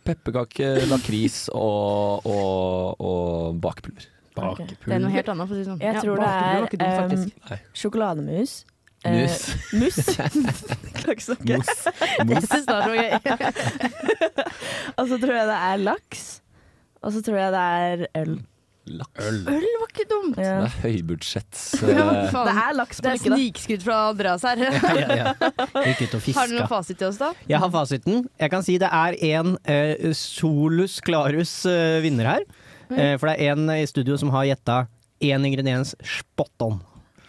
Pepperkake, lakris og, og, og bakpulver.
Det er noe helt annet, for å si det sånn.
Jeg
Ja,
tror
bakepulver var
det
ikke
er
dumt, faktisk.
em, sjokolademus. eh,
Mus.
mus.
<laughs>
Kan ikke snakke.
Mus.
Mus. Jeg synes det var
<laughs> og så tror jeg det er laks. Og så tror jeg det er øl.
Øl.
Øl var ikke dumt.
Det er høybudsjetts...
<laughs>
eh,
Det er laks på lykke, da. Det er snikskudd fra Andreas
<laughs>
her.
ja, ja. Gikk ut og fiska.
Har du noen fasit til oss, da?
Jeg har fasiten. Jeg kan si det er en eh, solus clarus eh, vinner her.
Oi.
Eh, for det er en i studio som har gjetta én ingrediens spot on.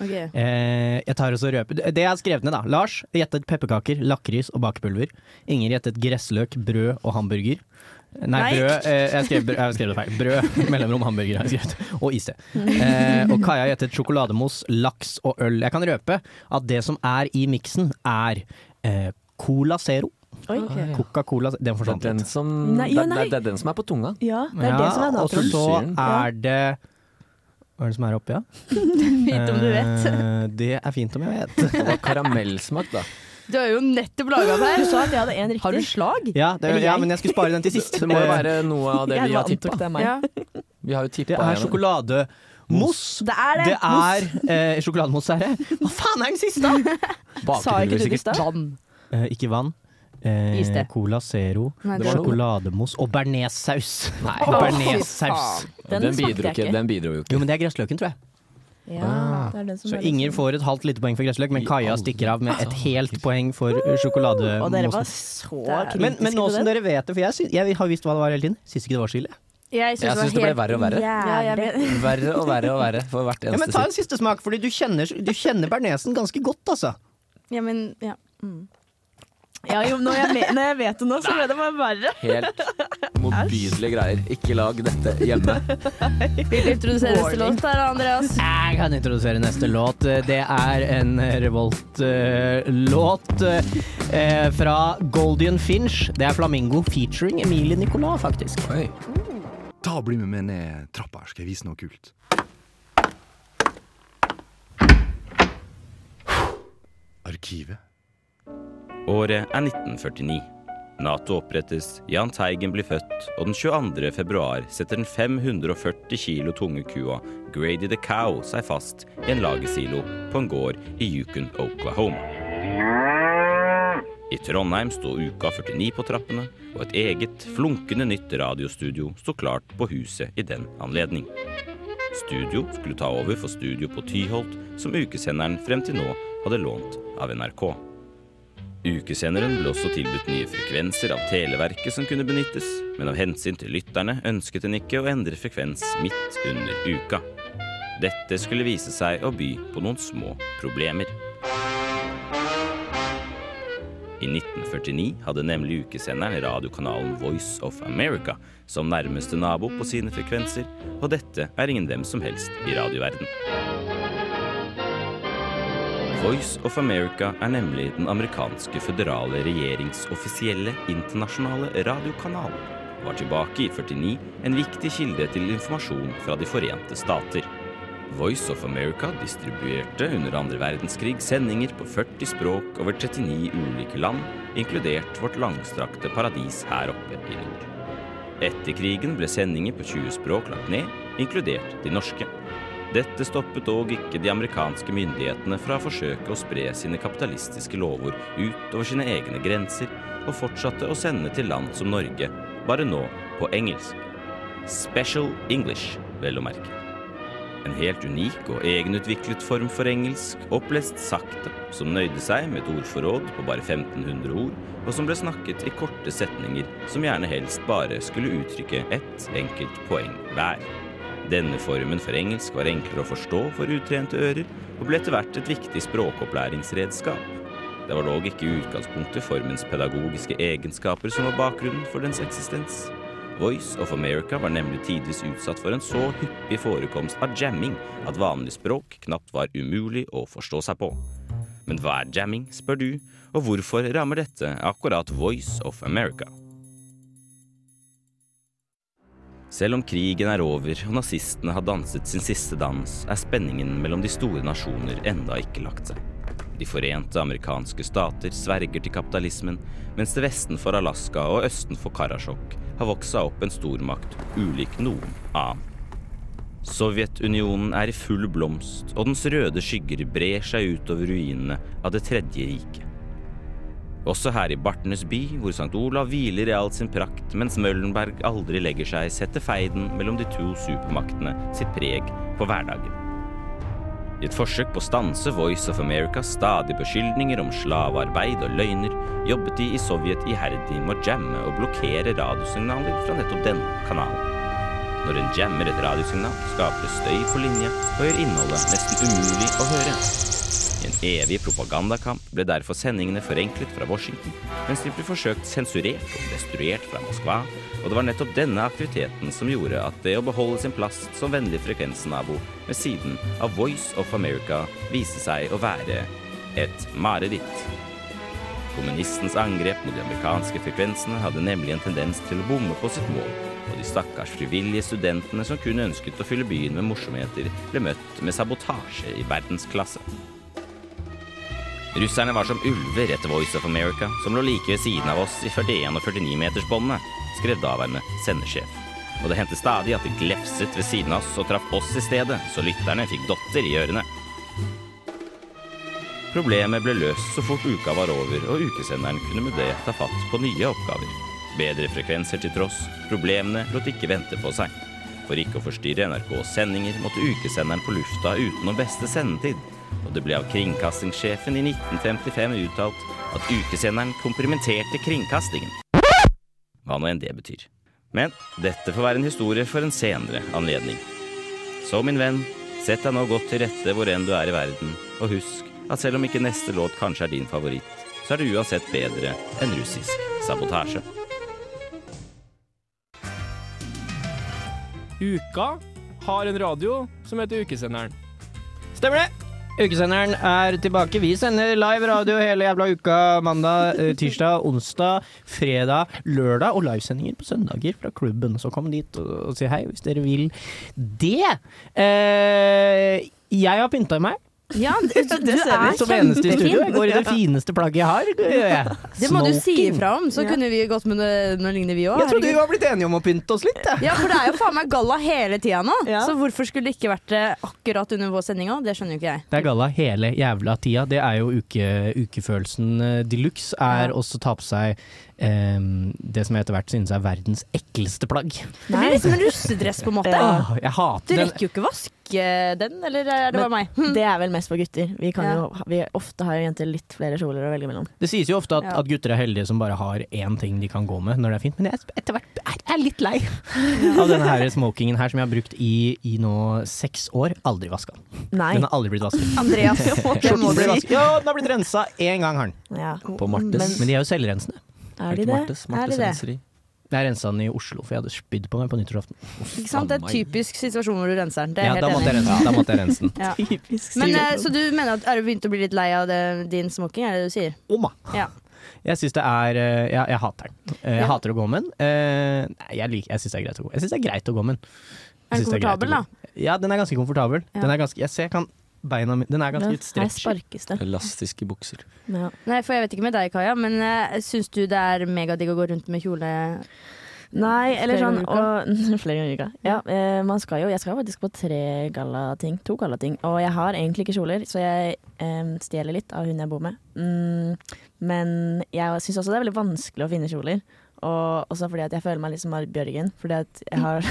Ok.
Eh, jeg tar også røpe. Det jeg har skrevet ned, da. Lars gjettet pepperkaker, lakris og bakepulver. Inger gjettet gressløk, brød og hamburger. Nei,
Nei.
brød eh, jeg, skrev, brød- jeg har skrevet det feil. Brød, <laughs> mellomrom, hamburger har jeg skrevet. Og iste. Eh, og Kaja gjettet sjokolademos, laks og øl. Jeg kan røpe at det som er i miksen, er eh, Cola Zero.
Oi.
Ah,
Coca-Cola Den forsvant
Den som,
Nei, ja,
det,
nei.
det, det er den som er på tunga.
Ja, det er det som er
Og
naturlig.
så
Ja.
er det Hva er det som er oppi, da?
Fint om du vet.
Eh, det er fint om jeg
<laughs>
vet.
Det var karamellsmak, da.
Du har jo nettopp laga det her.
Du sa at jeg hadde én riktig.
Har du slag?
Ja, det,
Eller
ja,
jeg?
men jeg skulle spare den til sist.
<laughs> Det må jo
Eh,
være noe av det
Jeg
vi har
antok
tippa.
det er meg.
Vi har jo tippa
Det er sjokolademos.
Det er det.
Det er eh, sjokolademos, er det. Hva faen er den siste?
Sa ikke du det i stad?
Vann.
Eh, ikke vann. Eh,
Iste.
Cola Zero,
Nei, det var noe.
sjokolademos og bearnéssaus. Nei,
Åh,
<laughs>
fy
bearnéssaus.
faen. Den Den bidro smakte jeg ikke- ikke. den
bidro jo ikke. Ah.
Jo, men det er gressløken, tror jeg.
det er den som er
Så
liksom-
Inger får et halvt lite poeng for gressløk, men Kaja stikker av med et helt poeng for eh, sjokolademosen.
Og dere var så kritiske
men, men nå
til
som
det.
dere vet det, for jeg, sy- jeg har visst hva det var hele tiden, syns ikke det var så ille.
Jeg
Jeg syns det ble verre og verre.
<laughs>
Verre og verre og verre for hvert
Ja, men
eneste
ta en siste smak, fordi du kjenner, du kjenner bearnésen ganske godt, altså.
Ja, men ja. Mm.
Ja, jo, når, jeg, me- når jeg vet det nå, så ble det bare verre.
Helt motbydelige greier. Ikke lag dette hjemme.
Vil du introdusere neste låt der, Andreas?
Jeg kan introdusere neste låt. Det er en Revolt-låt eh, fra Goldian Finch. Det er Flamingo featuring Emilie Nicolas, faktisk.
Ta og Bli med meg ned trappa, her, skal jeg vise noe kult. Arkivet.
Året er 1949. Nato opprettes, Jahn Teigen blir født, og den 22. februar setter den 540 kilo tunge kua Grady the Cow seg fast i en lagersilo på en gård i Yukon, Oklahoma. I Trondheim sto Uka 49 på trappene, og et eget, flunkende nytt radiostudio sto klart på huset i den anledning. Studio skulle ta over for studio på Tyholt, som ukesenderen frem til nå hadde lånt av NRK. Ukesenderen ble også tilbudt nye frekvenser av Televerket som kunne benyttes, men av hensyn til lytterne ønsket den ikke å endre frekvens midt under uka. Dette skulle vise seg å by på noen små problemer. I 1949 hadde nemlig ukesenderen radiokanalen Voice of America som nærmeste nabo på sine frekvenser, og dette er ingen hvem som helst i radioverden. Voice of America er nemlig den amerikanske føderale regjerings offisielle internasjonale radiokanal. var tilbake i 49 en viktig kilde til informasjon fra De forente stater. Voice of America distribuerte under andre verdenskrig sendinger på 40 språk over 39 ulike land, inkludert vårt langstrakte paradis her oppe i nord. Etter krigen ble sendinger på 20 språk lagt ned, inkludert de norske. Dette stoppet dog ikke de amerikanske myndighetene fra å forsøke å spre sine kapitalistiske lovord utover sine egne grenser, og fortsatte å sende til land som Norge, bare nå på engelsk. Special English, vel å merke. En helt unik og egenutviklet form for engelsk, opplest sakte, som nøyde seg med et ordforråd på bare 1500 ord, og som ble snakket i korte setninger som gjerne helst bare skulle uttrykke ett enkelt poeng hver. Denne formen for engelsk var enklere å forstå for utrente ører, og ble etter hvert et viktig språkopplæringsredskap. Det var dog ikke i utgangspunktet formens pedagogiske egenskaper som var bakgrunnen for dens eksistens. Voice of America var nemlig tidvis utsatt for en så hyppig forekomst av jamming at vanlig språk knapt var umulig å forstå seg på. Men hva er jamming, spør du, og hvorfor rammer dette akkurat Voice of America? Selv om krigen er over og nazistene har danset sin siste dans, er spenningen mellom de store nasjoner enda ikke lagt seg. De forente amerikanske stater sverger til kapitalismen, mens det vesten for Alaska og østen for Karasjok har vokst seg opp en stormakt ulik noen annen. Sovjetunionen er i full blomst, og dens røde skygger brer seg utover ruinene av Det tredje riket. Også her i Bartenes by, hvor St. Olav hviler i all sin prakt, mens Møllenberg aldri legger seg, setter feiden mellom de to supermaktene sitt preg på hverdagen. I et forsøk på å stanse Voice of Americas stadige beskyldninger om slavearbeid og løgner, jobbet de i Sovjet iherdig med å jamme og blokkere radiosignaler fra nettopp denne kanalen. Når en jammer et radiosignal, skaper det støy for linja og gjør innholdet nesten umulig å høre. I en evig propagandakamp ble derfor sendingene forenklet fra Washington, mens de ble forsøkt sensurert og destruert fra Moskva, og det var nettopp denne aktiviteten som gjorde at det å beholde sin plass som vennlig frekvensnabo ved siden av Voice of America viste seg å være et mareritt. Kommunistens angrep mot de amerikanske frekvensene hadde nemlig en tendens til å bomme på sitt mål, og de stakkars frivillige studentene som kun ønsket å fylle byen med morsomheter, ble møtt med sabotasje i verdensklasse. Russerne var som ulver etter Voice of America, som lå like ved siden av oss i 41- og 49-metersbåndene, skrev daværende sendesjef. Og det hendte stadig at de glefset ved siden av oss og traff oss i stedet, så lytterne fikk dotter i ørene. Problemet ble løst så fort uka var over, og ukesenderen kunne med det ta fatt på nye oppgaver. Bedre frekvenser til tross, problemene lot ikke vente på seg. For ikke å forstyrre NRKs sendinger måtte ukesenderen på lufta utenom beste sendetid, og det ble av kringkastingssjefen i 1955 uttalt at ukesenderen komprimenterte kringkastingen. Hva nå enn det betyr. Men dette får være en historie for en senere anledning. Så min venn, sett deg nå godt til rette hvor enn du er i verden, og husk at selv om ikke neste låt kanskje er din favoritt, så er det uansett bedre enn russisk sabotasje.
Uka har en radio som heter Ukesenderen.
Stemmer det! Ukesenderen er tilbake. Vi sender live radio hele jævla uka. Mandag, eh, tirsdag, onsdag, fredag, lørdag og livesendinger på søndager fra klubben. Så kom dit og, og si hei hvis dere vil det. Eh, jeg har pynta meg.
Ja, du, du, du er
Som eneste i studio. Jeg går i det
kjempefin.
fineste plagget jeg har. gjør jeg.
<laughs> Det må du si
Smoking.
ifra om, så kunne vi gått med noe, noe lignende vi òg.
Jeg trodde vi var blitt enige om å pynte oss litt. jeg.
Ja, for det er jo faen meg galla hele tida nå, så hvorfor skulle det ikke vært det akkurat under vår sending òg? Det skjønner jo ikke jeg.
Det er galla hele jævla tida. Det er jo uke, ukefølelsen eh, de luxe. Er også ta på seg eh, det som jeg etter hvert synes er verdens ekleste plagg.
Det blir liksom en
<laughs>
russedress, på en måte.
Åh, jeg
Du
hater den.
rekker jo <laughs> ikke vaske den, eller er det bare meg?
Det er vel mest for gutter. Vi, kan
Ja.
jo, vi ofte har jo jenter litt flere kjoler å velge mellom.
Det sies jo ofte at,
Ja.
at gutter er heldige som bare har én ting de kan gå med når det er fint, men jeg er etter hvert er, er litt lei <laughs> av denne her smokingen her som jeg har brukt i, i nå seks år. Aldri vaska.
Nei.
Den har aldri
<laughs>
blitt vasket. <laughs>
Andreas, det må du
Skjorten ble
si.
vasket. Ja, den har blitt rensa én gang, har den.
Ja.
På Martes. Men, de er jo selvrensende.
Er de det? Martes? Er Martes de det? renseri.
Jeg rensa den i Oslo, for jeg hadde spydd på meg på nyttårsaften.
Ikke sant? Det er en typisk situasjon hvor du renser den. Det er
Ja,
helt
da måtte
enig.
jeg rense den. Da måtte jeg rense den.
Ja.
Typisk
Men, eh,
situasjon.
så du mener at er du begynt å bli litt lei av det, din smoking, er det det du sier?
Oma.
Ja.
Jeg syns det er eh, jeg, jeg hater den. Eh, Jeg
Ja.
hater å gå med den. Eh, Nei, jeg, liker- jeg syns det er greit å gå Jeg synes det er greit å gå med den.
Er den
Jeg synes det greit å
komfortabel,
gå- Ja, den er ganske komfortabel.
Ja.
Den er ganske, jeg ser jeg kan beina mine Den er ganske
Ja,
litt
her
stretchy.
sparkes det.
Elastiske bukser.
Nei, for jeg vet ikke med deg, Kaja, men uh, syns du det er megadigg å gå rundt med kjole
Nei, eller
Flere
sånn
ganger i
og, <laughs> Flere ganger i uka. Ja, eh, man skal jo Jeg skal jo faktisk på tre gallating. To gallating. Og jeg har egentlig ikke kjoler, så jeg eh, stjeler litt av hun jeg bor med. Mm, men jeg syns også det er veldig vanskelig å finne kjoler. Og også fordi at jeg føler meg litt som Marit Bjørgen. Fordi at jeg har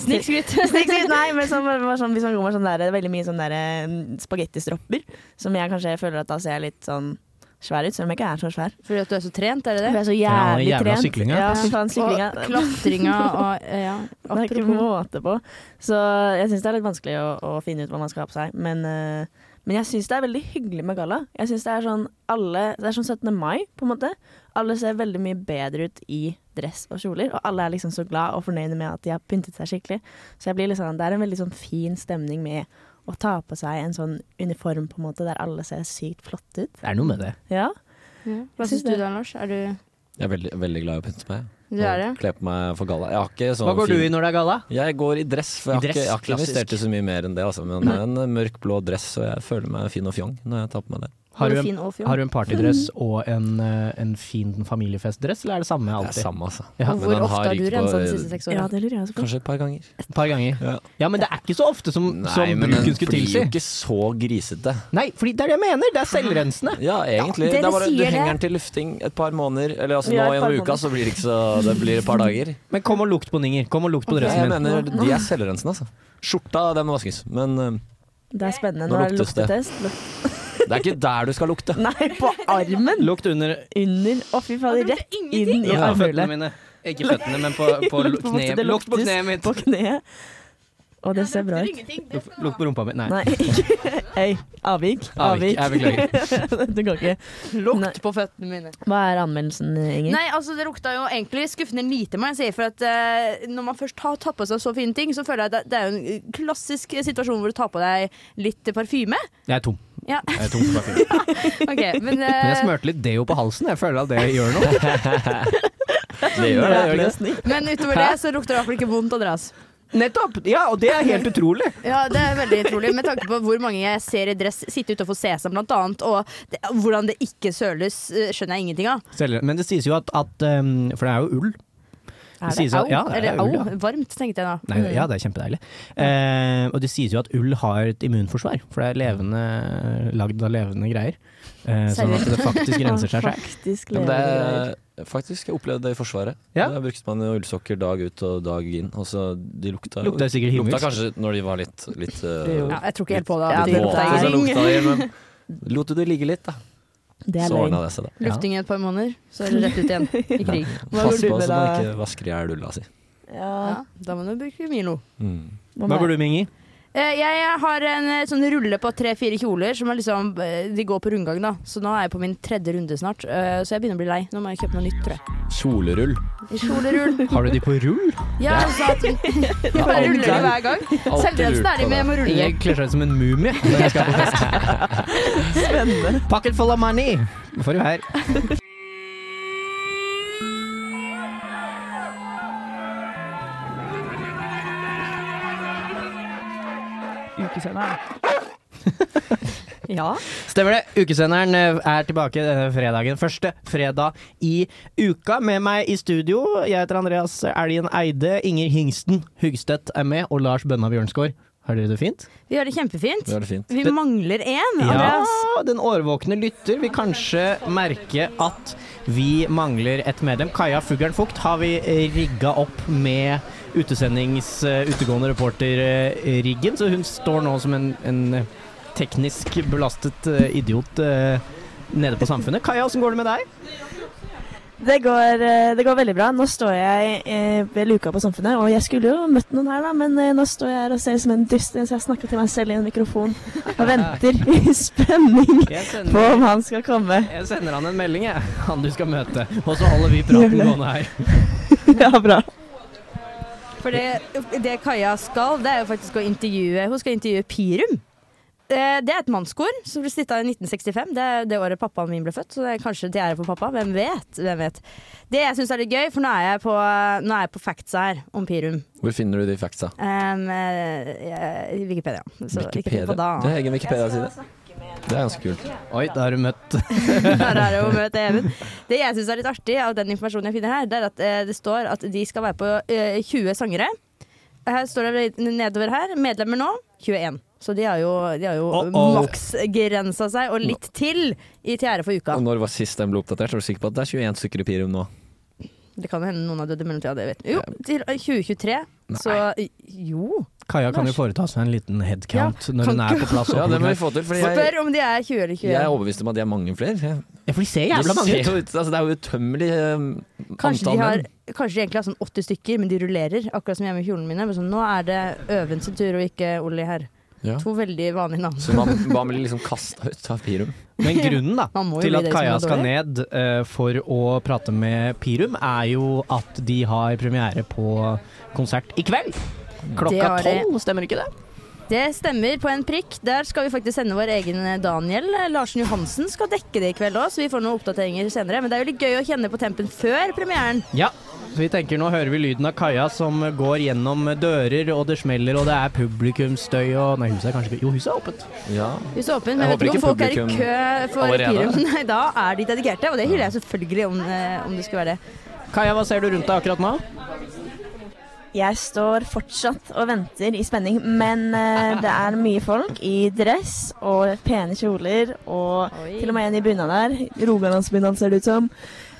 Snikskryt.
<laughs> Snikskryt, nei, men sånn, bare sånn, hvis man går med sånn der, veldig mye sånn der eh, spagettistropper, som jeg kanskje føler at da ser jeg litt sånn svær ut, selv om jeg ikke er så svær.
Fordi at du er så trent, er det det?
Jeg er så jævlig
Ja, og jævla
trent.
syklinga.
Ja, fy faen, syklinga.
Og klatringa og eh, ja.
<laughs> Det er ikke måte på. Så jeg syns det er litt vanskelig å, å finne ut hva man skal ha på seg. Men, eh, men jeg syns det er veldig hyggelig med galla. Jeg synes Det er sånn alle, det er sånn 17. mai, på en måte. Alle ser veldig mye bedre ut i dress og kjoler, og alle er liksom så glad og fornøyde med at de har pyntet seg skikkelig. Så jeg blir litt sånn, det er en veldig sånn fin stemning med å ta på seg en sånn uniform, på en måte, der alle ser sykt flotte ut.
Det er noe med det.
Ja.
Hva
Syns
syns du da, Lars? Er du
Jeg er veldig, veldig glad i å pynte meg.
Du er det?
Og Kle på meg for galla. Jeg har ikke sånn
Hva går du i når det er galla?
Jeg går i dress, for
I
jeg har ikke,
dress,
jeg har ikke
klassisk.
investert i så mye mer enn det. Altså. Men en mørk blå dress, og jeg føler meg fin og fjong når jeg tar på meg det.
Har du,
Både
en,
fin og fjong.
har du en partydress og en, eh, en fin familiefestdress, eller er det samme alltid?
Det er samme, altså.
Ja.
Men Hvor den har ofte har du ryket renset på- de siste seks årene?
Ja, det lurer jeg også på.
Kanskje et par ganger.
Et par ganger. Ja. men det er ikke så ofte som, som
Nei, men den
bruken skulle
blir
tilsi.
jo ikke så grisete.
Nei, fordi det er det jeg mener! Det er selvrensende.
Ja, egentlig.
Ja,
det er
dere
bare, du
sier det.
henger den til lufting et par måneder. Eller altså,
Vi
nå
har et par
gjennom uka,
måneder.
så blir det ikke så Det blir et par dager.
Men kom og lukt på Ninger. Kom og lukt på
Ok.
dressen min.
Jeg mener, de er selvrensende, altså. Skjorta, den må vaskes. Men eh,
Det er spennende.
Nå
Nå er det
luktes det.
luktetest.
det er ikke der du skal lukte.
Nei, på armen!
Lukt under
Under. Å, fy fader. Rett <laughs> inn i
Ja, føttene
armhullet.
mine. Ikke føttene, men på,
<laughs>
på
Lukt på-
kneet.
det
Lukt på
luktes
kneet mitt.
På kneet. Og det ser bra ut.
Lukt lukt på rumpa mi. Nei.
Nei, ikke <laughs> Øy, avvik.
Avvik,
Avvik.
jeg beklager.
<laughs> du kan ikke. Nei.
på føttene mine.
Hva er anmeldelsen, Inger?
Nei, altså Det lukta jo egentlig skuffende lite, må jeg si. For at eh, når man først har tatt på seg så fine ting, så føler jeg at det, det er jo en klassisk situasjon hvor du tar på deg litt parfyme.
Jeg er tom.
Ja,
Jeg er tom for parfyme.
<laughs> ok, men,
Men jeg
eh,
smurte litt deo på halsen. Jeg føler at det gjør
<laughs>
noe. <laughs>
Det gjør det, gjør det ikke?
men utover det så lukter det i hvert fall ikke vondt å dras.
Nettopp! Ja, og det er helt utrolig.
Ja, det er veldig utrolig, med tanke på hvor mange jeg ser i dress sitte utenfor Sesam blant annet, og det, hvordan det ikke søles, eh, skjønner jeg ingenting av.
Selv- Men det sies jo at, at um, For det er jo ull.
Er det
sies jo-
au?
ja, det er
Eller
ull,
au? Varmt, tenkte jeg da.
Nei, ja, det er kjempedeilig. Eh, og det sies jo at ull har et immunforsvar, for det er levende, lagd av levende greier. Eh, sånn at det faktisk renser
<laughs>
seg selv.
Faktisk
<laughs> Ja, men det
lever
er, faktisk, jeg opplevde det i Forsvaret.
Ja.
Da brukte man jo ullsokker dag ut og dag inn. Og så de lukta
Lukta sikkert himmelsk.
Lukta kanskje når de var litt, litt
jo- Ja, jeg tror ikke helt på det,
litt
at de lukta
våte, så
ing.
lukta de, men lot du det ligge litt, da.
Det er
så
løgn.
ordna det seg, da.
Lufting i et par måneder, så er det rett ut
<laughs>
igjen i krig.
Hva
Pass
går du
på
med
så man
da?
ikke vasker i hjel ulla si.
Ja, da må du bruke Milo.
Mm. Hva går du med, Ingi?
Eh, Jeg har en eh, sånn rulle på tre-fire kjoler som er liksom eh, De går på rundgang, da. Så nå er jeg på min tredje runde snart. eh, Så jeg begynner å bli lei. Nå må jeg kjøpe noe nytt, tror jeg.
Kjolerull.
<laughs>
<laughs>
Kjolerull.
Har du de på rull?
Ja, altså <laughs> at Jeg bare ruller de hver gang. Selvrensen er de med, jeg må rulle
Jeg
de.
kler seg ut som en mumie når jeg skal på fest.
<laughs>
Spennende.
Pocket full of money! Får du her.
Ja.
Stemmer det. Ukesenderen eh, er tilbake denne fredagen. Første fredag i uka. Med meg i studio, jeg heter Andreas Elgen Eide. Inger Hingsten Hugstedt er med, og Lars Bønna Bjørnsgaard. Har dere det fint?
Vi har det kjempefint.
Vi har det fint.
Vi
Det-
mangler én,
Ja,
Andreas.
den årvåkne lytter vil kanskje merke at vi mangler et medlem. Kaja Fuglen Fugt har vi eh, rigga opp med utesendings eh, utegående reporter-riggen, så hun står nå som en, en teknisk belastet eh, idiot eh, nede på Samfunnet. Kaja, åssen går det med deg?
Det går, eh, det går veldig bra. Nå står jeg eh, ved luka på Samfunnet, og jeg skulle jo møtt noen her, da, men eh, nå står jeg her og ser ut som en dust, så jeg snakker til meg selv i en mikrofon og venter
<laughs>
i spenning
Jeg sender-
på om han skal komme.
Jeg sender han en melding, jeg. Han du skal møte. Og så holder vi praten gående her.
<laughs> Ja, bra.
For det, det Kaja skal, det er jo faktisk å intervjue Hun skal intervjue Pirum. eh, det er et mannskor som ble stifta i 1965. Det er det året pappaen min ble født, så det er kanskje til ære for pappa. Hvem vet? Hvem vet. Det jeg syns er litt gøy, for nå er jeg på, nå er jeg på factsa her om Pirum.
Hvor finner du de factsa?
Em, eh, eh, Wikipedia. Så ikke tenk på da.
Det er egen Wikipedia-side. Det er ganske kult.
Oi, da har du
<laughs>
møtt
Der er det jo møte Even. Det jeg syns er litt artig av den informasjonen jeg finner her, det er at eh, det står at de skal være på eh, 20 sangere. Her står det vel nedover her. Medlemmer nå 21. Så de har jo, de har jo
Uh-oh.
maksgrensa seg, og litt til, i til ære for uka.
Og når var sist den ble oppdatert? Er du sikker på at det er 21 stykker i Pirum nå?
Det kan jo hende noen har dødd i mellomtida, det vet vi. Jo, til 2023. Så eh, jo.
Kaja kan jo
Lars.
foreta seg en liten headcount
Ja,
når
kan
hun er
ikke-
på plass.
Ja, det må vi få til, fordi jeg-
Spør om de er 20 eller 21.
Jeg er overbevist om at de er mange flere.
Ja, for de ser
jævla mange ut.
ut. Altså, det er jo utømmelig um,
Kanskje de,
antall
har,
menn.
kanskje de egentlig har sånn 80 stykker, men de rullerer. Akkurat som hjemme i kjolene mine. Men sånn, nå er det Øven sin tur, og ikke Olli her.
Ja.
To veldig vanlige navn.
Så man,
<laughs>
man blir liksom kasta ut av Pirum.
Men grunnen da,
Man må jo
til
bli
at
det som
Kaja
er
skal
dårlig.
ned eh, for å prate med Pirum, er jo at de har premiere på konsert i kveld.
Det
Klokka
har de.
tolv, stemmer ikke det?
Det stemmer på en prikk. Der skal vi faktisk sende vår egen eh, Daniel. Larsen Johansen skal dekke det i kveld òg, så vi får noen oppdateringer senere. Men det er jo litt gøy å kjenne på tempen før premieren.
Ja, så vi tenker nå hører vi lyden av Kaja som går gjennom dører, og det smeller, og det er publikumsstøy og Nei, huset er kanskje ikke Jo, huset er åpent.
Ja.
Huset er åpent, men
Jeg
vet ikke om
håper
folk er i
ikke publikum
kø for
allerede.
Pirum. <laughs> Nei, da er de dedikerte, og det hyller jeg selvfølgelig om, eh, om det skulle være det.
Kaja, hva ser du rundt deg akkurat nå?
Jeg står fortsatt og venter i spenning, men eh, det er mye folk i dress og pene kjoler, og til og med en i bunader. Rogalandsbunaden ser det ut som.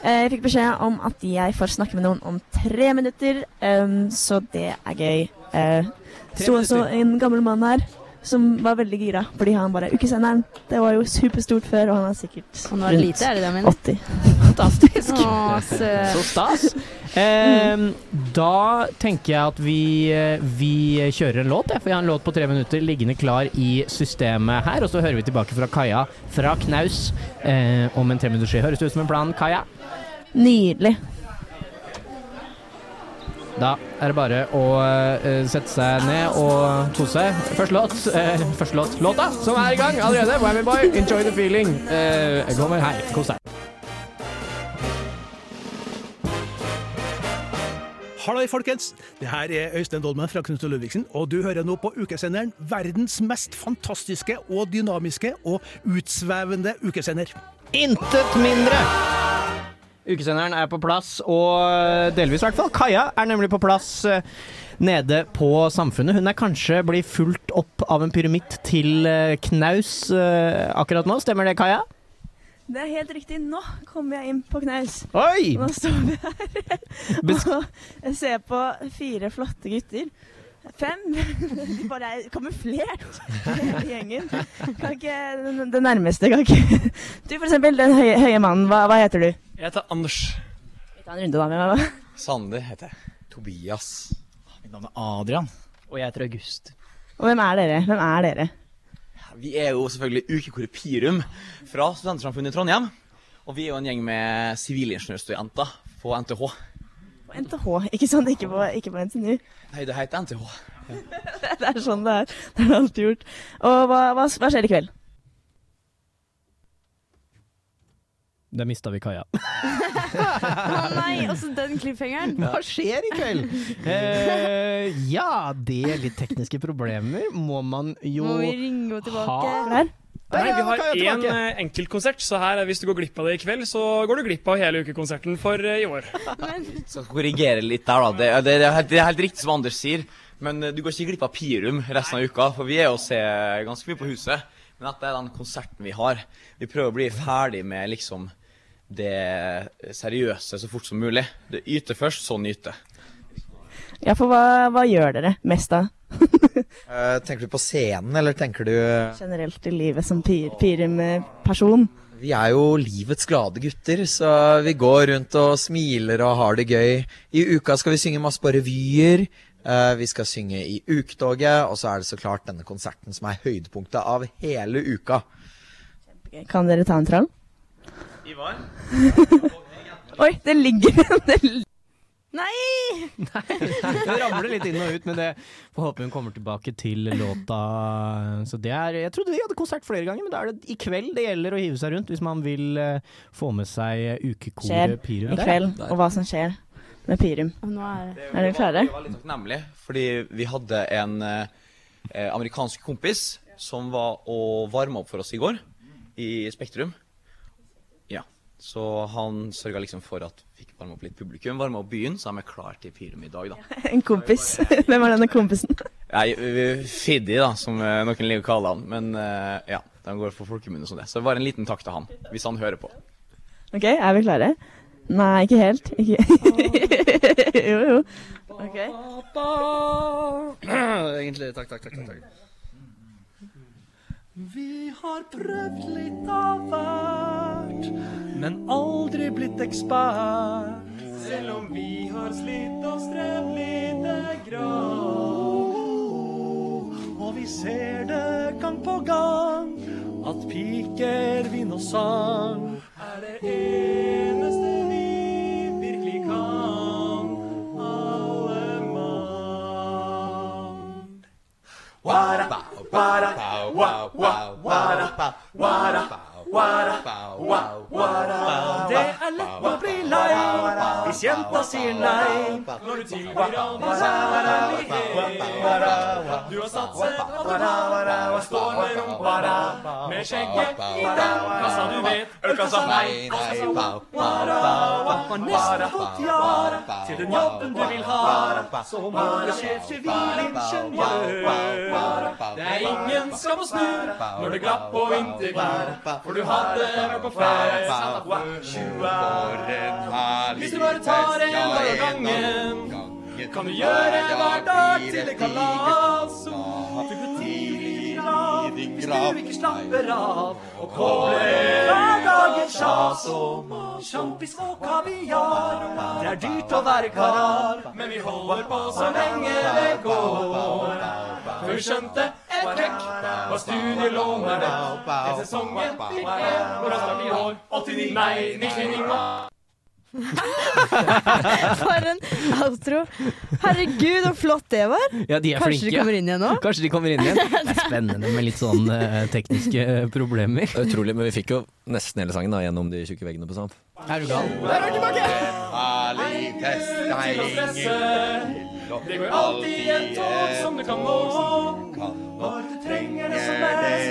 Eh, jeg fikk beskjed om at jeg får snakke med noen om tre minutter, em, så det er gøy. Uh,
Tre
sto også
minutter.
en gammel mann her som var veldig gira, fordi han bare er ukesenderen. Det var jo superstort før, og han er sikkert
Og nå er det lite, er det det jeg mener?
80. <laughs>
Fantastisk. Å, søt.
Så stas. Eh, da tenker jeg at vi, eh, vi kjører en låt, jeg, for jeg har en låt på tre minutter liggende klar i systemet her. Og så hører vi tilbake fra Kaja fra knaus eh, om en treminutterski. Høres det ut som en plan, Kaja?
Nydelig.
Da er det bare å eh, sette seg ned og kose seg. Første låt, eh, første låt, låta som er i gang allerede. Whammy Boy, enjoy the feeling. Eh, kommer her. Kos deg.
Halløy, folkens! Det her er Øystein Dolmen fra Knut og Ludvigsen, og du hører nå på ukesenderen verdens mest fantastiske og dynamiske og utsvevende ukesender.
Intet mindre! Ukesenderen er på plass, og delvis i hvert fall. Kaja er nemlig på plass eh, nede på Samfunnet. Hun er kanskje blir fulgt opp av en pyramitt til eh, knaus eh, akkurat nå. Stemmer det, Kaja?
Det er helt riktig. Nå kommer jeg inn på knaus.
Oi!
Nå står vi her og jeg ser på fire flotte gutter. Fem. De bare er kamuflert, hele gjengen. Kan ikke den, den nærmeste, kan ikke Du, for eksempel, den høye, høye mannen, hva, hva heter du?
Jeg heter Anders.
Vi tar en runde da med meg, da.
Sander heter jeg. Tobias. Mitt navn er Adrian. Og jeg heter August.
Og hvem er dere? Hvem er dere?
Vi er jo selvfølgelig Ukekoret Pirum fra Studentersamfunnet i Trondheim. Og vi er jo en gjeng med sivilingeniørstudenter på NTH.
På NTH, ikke sånn, ikke på, ikke på NTNU.
Nei, det heter NTH.
<laughs> Det er sånn det er. Det er alltid gjort. Og hva, hva, hva skjer i kveld?
Der mista vi Kaja.
<laughs> Å nei, også den cliffhangeren.
<laughs> Hva skjer i kveld? Eh, ja, det litt tekniske problemer må man jo
Må vi ringe henne
ha.
tilbake?
Der,
Nei,
ja,
vi
nå
har
kan jeg
én
tilbake.
eh, enkeltkonsert, så her, eh, hvis du går glipp av det i kveld, så går du glipp av hele ukekonserten for eh, i år.
Skal korrigere litt der, da. Det, det, det, er helt, det er helt riktig som Anders sier. Men eh, du går ikke glipp av Pirum resten av uka, for vi er jo og ser ganske mye på huset. Men dette er den konserten vi har. Vi prøver å bli ferdig med liksom det seriøse så fort som mulig. Det yte først, så nyte.
Ja, for hva, hva gjør dere mest da?
Eh, tenker du på scenen, eller tenker du
Generelt i livet som pir, pirum-person?
Vi er jo livets glade gutter, så vi går rundt og smiler og har det gøy. I uka skal vi synge masse på revyer. eh, vi skal synge i Uketoget, og så er det så klart denne konserten som er høydepunktet av hele uka.
Kan dere ta en trall?
Ivar?
<laughs> Oi, det ligger en del
Nei!
Hun ramler litt inn og ut, men det får håpe hun kommer tilbake til låta. Så det er Jeg trodde de hadde konsert flere ganger, men da er det i kveld det gjelder å hive seg rundt hvis man vil eh, få med seg eh,
Skjer
ukekoret Pirum
i kveld, og hva som skjer med Pirum. Er dere klare?
Jeg var litt takknemlig, fordi vi hadde en eh, eh, amerikansk kompis som var og varma opp for oss i går, i Spektrum. Ja. Så han sørga liksom for at vi fikk varma opp litt publikum, varma opp byen, så de er klar til Pirum i dag, da.
En kompis. <laughs> Hvem er denne kompisen? <laughs>
Nei, eh, Fiddy, da, som eh, noen liker å kalle han. Men eh, ja, de går for folkemunne som det. Så bare en liten takk til han, hvis han hører på.
Ok, er vi klare? Nei, ikke helt. Ikke. <laughs> jo, jo. Ok.
Egentlig. Takk, takk, takk. takk, takk.
Vi har prøvd litt av hvert, men aldri blitt ekspert. Selv om vi har slitt og strevd lite grann. Og vi ser det gang på gang at piker, vin og sang er det eneste vi virkelig kan. Alle mann. Wada, wada, wada, wada, wada, wada, wada. Det er lett å bli lei hvis jenta sier nei. Når du tilbyr andre kjærlighet. Du har satset på det her og står med rumpa der. Med skjegget i den kassa du vet. Ølkassa nei, nei, Har nesten fått ja til den jobben du vil ha. Så må du skje sivilingeniør. Det er ingen skam å snu når det glapp på vinterklær. For du hadde vært på fest. Wow, 20 år. Hvis du bare tar en dag av gangen, kan du gjøre hver dag til et kalas. Du går tidlig i grav hvis du ikke slapper av. Og kobler hver dag et sjas og sjampis og kaviar. Det er dyrt å være karar, men vi holder på så lenge det går. Før vi skjønte et knekk hva studielånet er verdt. Til sesongen fikk jeg hvor raskt blir år 89, nei 99.
<laughs> For en outro. Herregud, så flott det var.
Ja, de er
Kanskje
flinke,
de kommer inn igjen nå?
Kanskje de kommer inn igjen.
<laughs>
Det er spennende med litt sånn eh, tekniske eh, problemer.
Utrolig, men vi fikk jo nesten hele sangen da, gjennom de tjukke veggene på Samp.
Er du gal?
Der er vi Det går alltid et tog som du kan nå. Når du trenger det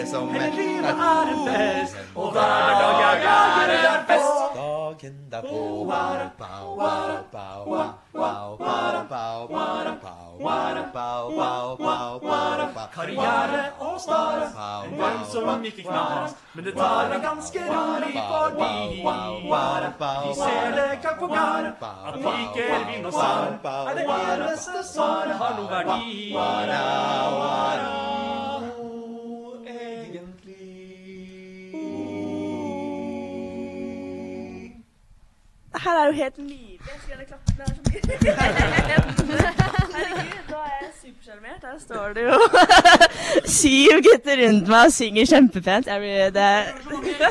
som mest. Hele livet er en fest. Og hver dag er dagen det er fest. Dagen derpå. Karriere og stare. En gang som ikke knas. Men det tar det ganske rolig fordi vi ser det gang på gang. At piker, vin og sang er det eneste som har noe verdi.
Det her er jo helt nydelig. Jeg skulle gjerne klappet, men det er så mye. Herregud, nå er jeg supersjarmert. Her står det jo <laughs> syv gutter rundt meg og synger kjempepent. Jeg blir det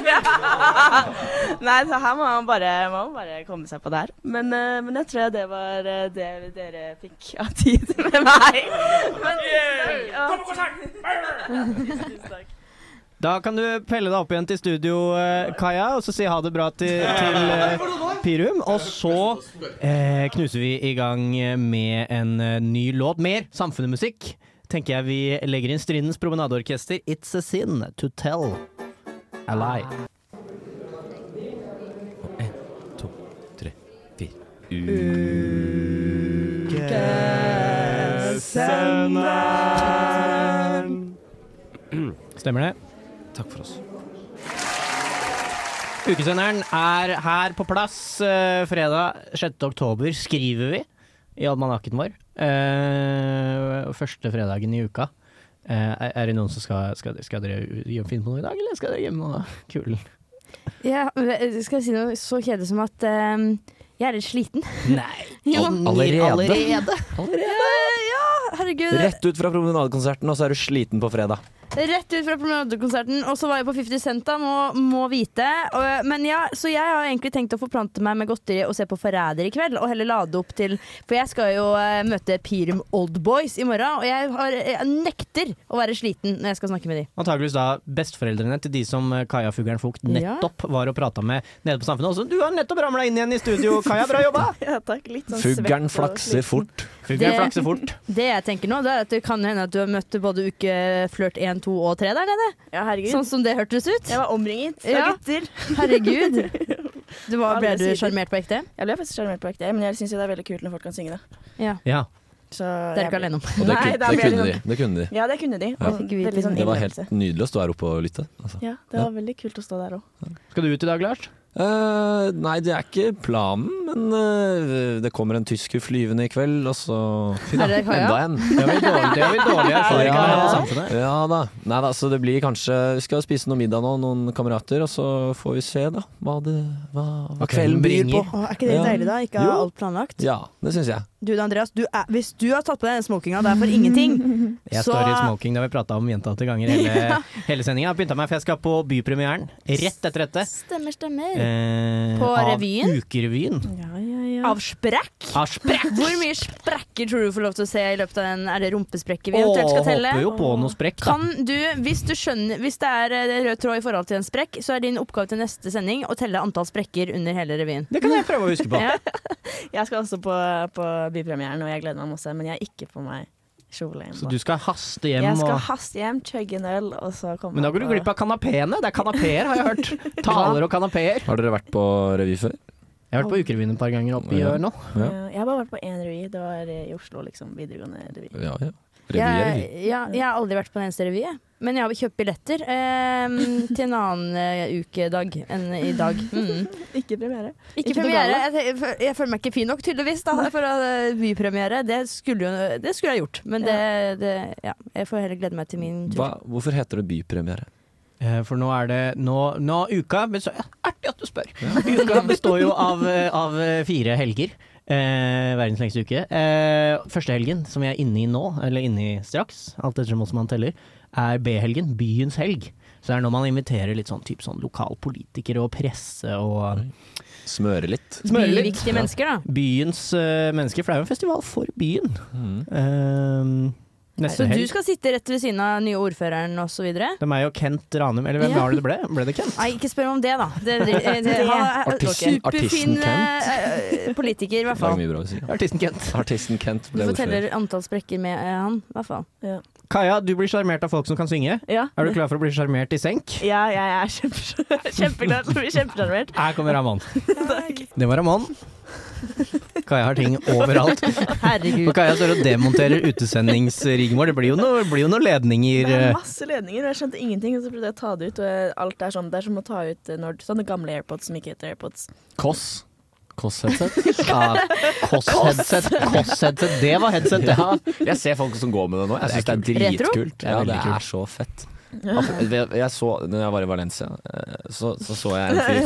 <laughs> Nei, så her må man bare, må man bare komme seg på det her. Men, eh, men jeg tror det var eh, det dere fikk av tid <laughs> med meg. Men tusen takk. Kom på konsert!
Da kan du pelle deg opp igjen til studio, eh, Kaja, og så si ha det bra til, til eh, Pirum. Og så eh, knuser vi i gang med en eh, ny låt. Mer samfunnsmusikk. Tenker jeg vi legger inn Strindens Promenadeorkester, It's a Sin to Tell a Lie.
Ukesenderen.
Stemmer det?
Takk for oss.
Ukesenderen er her på plass. eh, fredag 6. oktober skriver vi i almanakken vår. Eh, første fredagen i uka. Eh, er- er det noen som skal, skal, skal dere hjem- finne på noe i dag, eller skal dere hjem og kulen?
Ja, men skal jeg si noe så kjedelig som at ehm, jeg er litt sliten.
Nei.
Jo.
Allerede?
Allerede. Ja, herregud.
Rett ut fra promenadekonserten, og så er du sliten på fredag.
Rett ut fra promenadekonserten, og så var jeg på 50 Cent, da, må, må vite. Og, men ja, så jeg har egentlig tenkt å forplante meg med godteri og se på Forræder i kveld, og heller lade opp til For jeg skal jo eh, møte Pirum Old Boys i morgen, og jeg, har, jeg nekter å være sliten når jeg skal snakke med de.
Antakeligvis da besteforeldrene til de som Kaja Fuglen Fugt nettopp var og prata med nede på Samfunnet. Også, du har nettopp ramla inn igjen i studio, Kaja. Bra jobba!
<laughs> Ja, takk. Litt sånn svett
Fuglen
og
flakser
sliten.
fort.
Fuglen flakser fort.
Det jeg tenker nå, det er at det kan hende at du har møtt både ukeflørt 1, 2 og 3 der nede. Sånn som det hørtes ut.
Jeg var omringet fra
Ja.
gutter. <laughs>
Herregud. Du var, ble
Alle
du
sider.
sjarmert på ekte?
Jeg ble faktisk sjarmert på ekte, men jeg syns det er veldig kult når folk kan synge det.
Ja.
Ja.
Så
Det er ikke alene om.
Og det,
Nei, da
kun, det,
ble jeg
kunne de,
litt sånn-
det kunne de.
Ja, det kunne de. Og veldig sånn
Det var helt
innlevelse.
nydelig å stå her oppe og lytte. Altså.
Ja, det var veldig kult å stå der òg.
Skal du ut i dag, Lars?
Eh, nei, det er ikke planen, men eh, det kommer en tysker flyvende i kveld, og så
Er det Kaja?
Enda en.
Det har vi dårlig- det har vi <laughs> dårlig erfaring med her på
Samfunnet.
Ja da. Nei da, så det blir kanskje Vi skal spise noe middag nå, noen kamerater, og så får vi se, da, hva, det, hva, hva kvelden byr på.
Å, er ikke det
Ja.
deilig, da? Ikke ha
Jo.
alt planlagt?
Ja, det syns jeg.
Du da, Andreas, du er, hvis du har tatt på deg den smokinga der for ingenting,
<laughs> Jeg
så
står i smoking, det har vi prata om gjentatte ganger hele,
<laughs> Ja.
hele sendinga. Jeg har pynta meg, for jeg skal på Bypremieren rett etter dette.
Stemmer, stemmer.
Eh,
På
av
revyen?
Ukerevyen.
Av sprekk?
Av sprekk.
Hvor mye sprekker tror du du får lov til å se i løpet av den? Er det rumpesprekker vi eventuelt skal
Åh,
telle?
Håper jo på noe sprekk, da.
Kan du, hvis, du skjønner, hvis det er eh, rød tråd i forhold til en sprekk, så er din oppgave til neste sending å telle antall sprekker under hele revyen.
Det kan jeg prøve å huske på.
Ja.
Jeg skal også på, på bypremieren, og jeg gleder meg masse, men jeg har ikke på meg kjole. ennå.
Så du skal haste hjem
Jeg skal
og
haste hjem, chugge en øl, og så komme
Men da går du
på-
glipp av kanapeene. Det er kanapeer, har jeg hørt.
<laughs>
Taler og kanapeer.
Har dere vært på revy før?
Jeg har vært på Ukerevyen et par ganger oppe i
Ja.
år nå.
Ja.
Ja, Jeg har bare vært på én revy. Det var eh, i Oslo, liksom. Videregående revy.
Ja, ja. Revy er
Jeg,
revy.
ja, jeg har aldri vært på en eneste revy, jeg. men jeg har kjøpt billetter eh,
<laughs>
til en annen eh, ukedag enn i dag. Mm.
Ikke premiere.
Ikke
noe gale.
premiere. Jeg, te- jeg føl- jeg føler meg ikke fin nok, tydeligvis, da, for eh, bypremiere. Det skulle, jo, det skulle jeg gjort, men det, det ja. Jeg får heller glede meg til min tur.
Hva, hvorfor heter det bypremiere?
Eh, For nå er det nå, nå uka men så, ja, Artig at du spør! Uka består jo av, eh, av eh, fire helger. Eh, verdens lengste uke. Eh, første helgen, som jeg er inne i nå, eller inne i straks, alt etter hvordan man teller, er B-helgen, byens helg. Så det er når man inviterer litt sånn, typ sånn lokalpolitikere og presse og
Smøre litt.
Smøre litt.
Byviktige mennesker, da.
Byens eh, mennesker, for det er jo en festival for byen.
Mm.
Eh, neste
Så du
helg.
skal sitte rett ved siden av nye ordføreren osv.?
Det er meg og Kent Ranum, eller hvem
Ja.
var det det ble? Ble det Kent?
Nei, ikke spør meg om det, da. Det, det,
<laughs>
det, han er
Artisten-
superfin
artisten Kent.
eh, eh, politiker, i hvert
Det var
fall.
mye bra å si.
Artisten Kent.
Artisten Kent
Du
ble ordfører.
forteller antall sprekker med eh, han, i hvert fall.
Kaja, du blir sjarmert av folk som kan synge.
Ja.
Er du klar for å bli sjarmert i senk?
Ja, jeg er kjempe- <laughs> kjempeglad til å bli kjempesjarmert.
Her kommer Ramón. Det var Ramón. Kaja har ting overalt.
Herregud.
For Kaja står og demonterer utesendingsriggen vår. Det blir jo noe- blir jo noen ledninger.
Det er
eh.
masse ledninger, og jeg skjønte ingenting. Og så prøvde jeg å ta det ut, og jeg- alt er sånn. Det er som å ta ut eh, når, sånne gamle AirPods som ikke heter AirPods.
Koss.
<laughs>
Koss-headset?
Ja, Koss-headset. Koss-headset, det var headset, det.
Ja, jeg ser folk som går med det nå. Jeg syns det er
kult. Retro?
dritkult.
Det er
Ja,
veldig
det
kult.
er så fett. Altså, jeg jeg så, når jeg var i Valencia, eh, så så, så jeg en fyr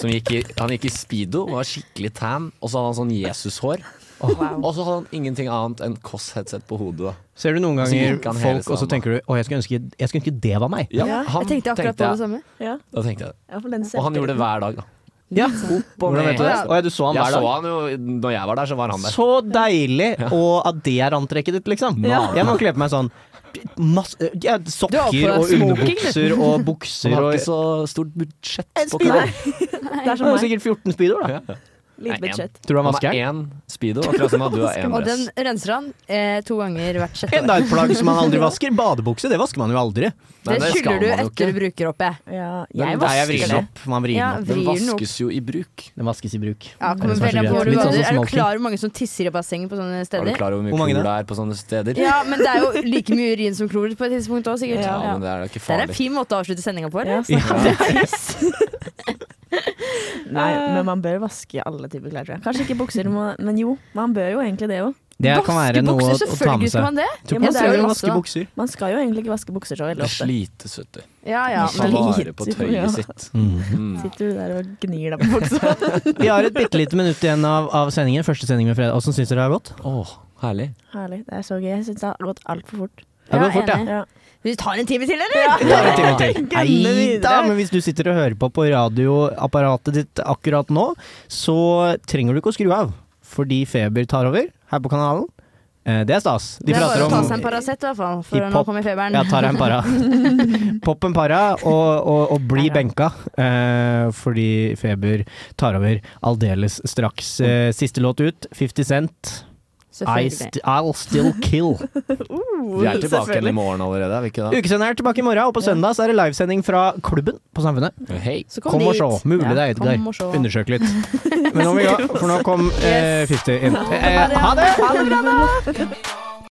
som gikk i, han gikk i speedo, var skikkelig tan, og så hadde han sånn Jesus-hår. Og, og så hadde han ingenting annet enn Koss-headset på hodet. da.
Ser du noen
Og så
ganger
gikk han hele
folk, og så
sanda.
tenker du å, jeg skulle ønske, jeg skulle ønske det var meg.
Ja, Ja, han
Jeg tenkte akkurat på det samme.
Ja.
Da tenkte jeg det.
Ja, for den
Og han gjorde det
<laughs>
hver dag, da.
Ja. Hvordan vet du det? Å ja, du så han
jeg
hver dag.
så han jo når jeg var der, så var han der.
Så deilig! Og at det er antrekket ditt, liksom.
Ja.
Jeg må kle på meg sånn masse, ja,
har på
Sokker
deg
og
smoking, du.
underbukser og bukser
Han har
og
ikke så stort budsjett på
speedo.
klær.
Det
<laughs>
er
Han har
som
jo
meg.
sikkert 14 speedoer, da.
Lite
Nei, en.
budsjett.
Tror du han vasker
har
den?
én <laughs> speedo, akkurat som at du har én
Og den
dress.
renser han eh, to ganger hvert
<laughs>
sjette
Enda et plagg som man aldri vasker. Badebukse, det vasker man jo aldri.
Det skyller du etter du bruker opp, jeg.
Den-
jeg
Nei, jeg
vasker
vrir den
det.
opp. Man vrir
Ja,
den opp.
vrir den opp.
jo i bruk.
Den vaskes i bruk.
Ja,
Det
kommer
er det
veldig
som
an på hvor
er så greit.
du
Litt sånn
bader.
som
Er du
smoking.
klar over hvor mange som tisser i bassenget på sånne
Er du
steder?
klar over hvor
Hvor mange
mye klor
da?
det er på sånne steder?
Ja, men det er jo like mye urin som klor på et tidspunkt òg, sikkert. sånn,
Ja, men det er da ikke
Det er en
farlig.
fin måte å avslutte sendinga på. <laughs> eller?
<laughs> Nei, men man bør vaske alle typer klær, tror jeg. Kanskje ikke <laughs> bukser, må- men jo. Man bør jo egentlig det òg.
Det kan være Vaske noe bukser, å- å ta selvfølgelig med seg. skal man det. Tror man skal jo vaske bukser.
Man skal jo egentlig ikke vaske bukser så veldig
Det
ofte.
slites, vet du.
Ja, ja,
Man tar
men-
vare på
<laughs>
tøyet
Ja.
sitt.
Sitter du der og gnir deg på <laughs> buksa?
Vi har et bitte lite minutt igjen av, av sendingen. Første sending med fredag. Åssen syns dere det har gått?
Åh, herlig.
Herlig. Det er så gøy. Jeg syns det har gått altfor fort.
Det har gått fort, ja.
ja.
Vi tar en time til,
Ja,
eller?
en time til.
Gønne videre.
Neida, men hvis du sitter og hører på på radioapparatet ditt akkurat nå, så trenger du ikke å skru av, fordi Feber tar over her på kanalen. Eh, Det er stas. De
det er
prater
bare å ta
om
seg en Paracet, i hvert fall.
I
For nå
pop-
kommer feberen.
Ja, tar jeg en para.
<laughs>
Popp en para og, og, og bli benka, eh, fordi Feber tar over aldeles straks. Eh, siste låt ut, 50 Cent. I
Selvfølgelig.
st I'll Still
<laughs>
Kill.
Uh,
Vi er tilbake igjen i morgen allerede, er vi ikke det?
Ukesenderen er tilbake i morgen, og på søndag så er det livesending fra klubben på Samfunnet.
kom
kom, og
dit.
se. Mulig
Ja,
det er
kom og
Edgar.
se.
Undersøk litt. Men nå må vi gå, for nå kom eh, 50 inn. Eh, ha det!
Ha det bra, da!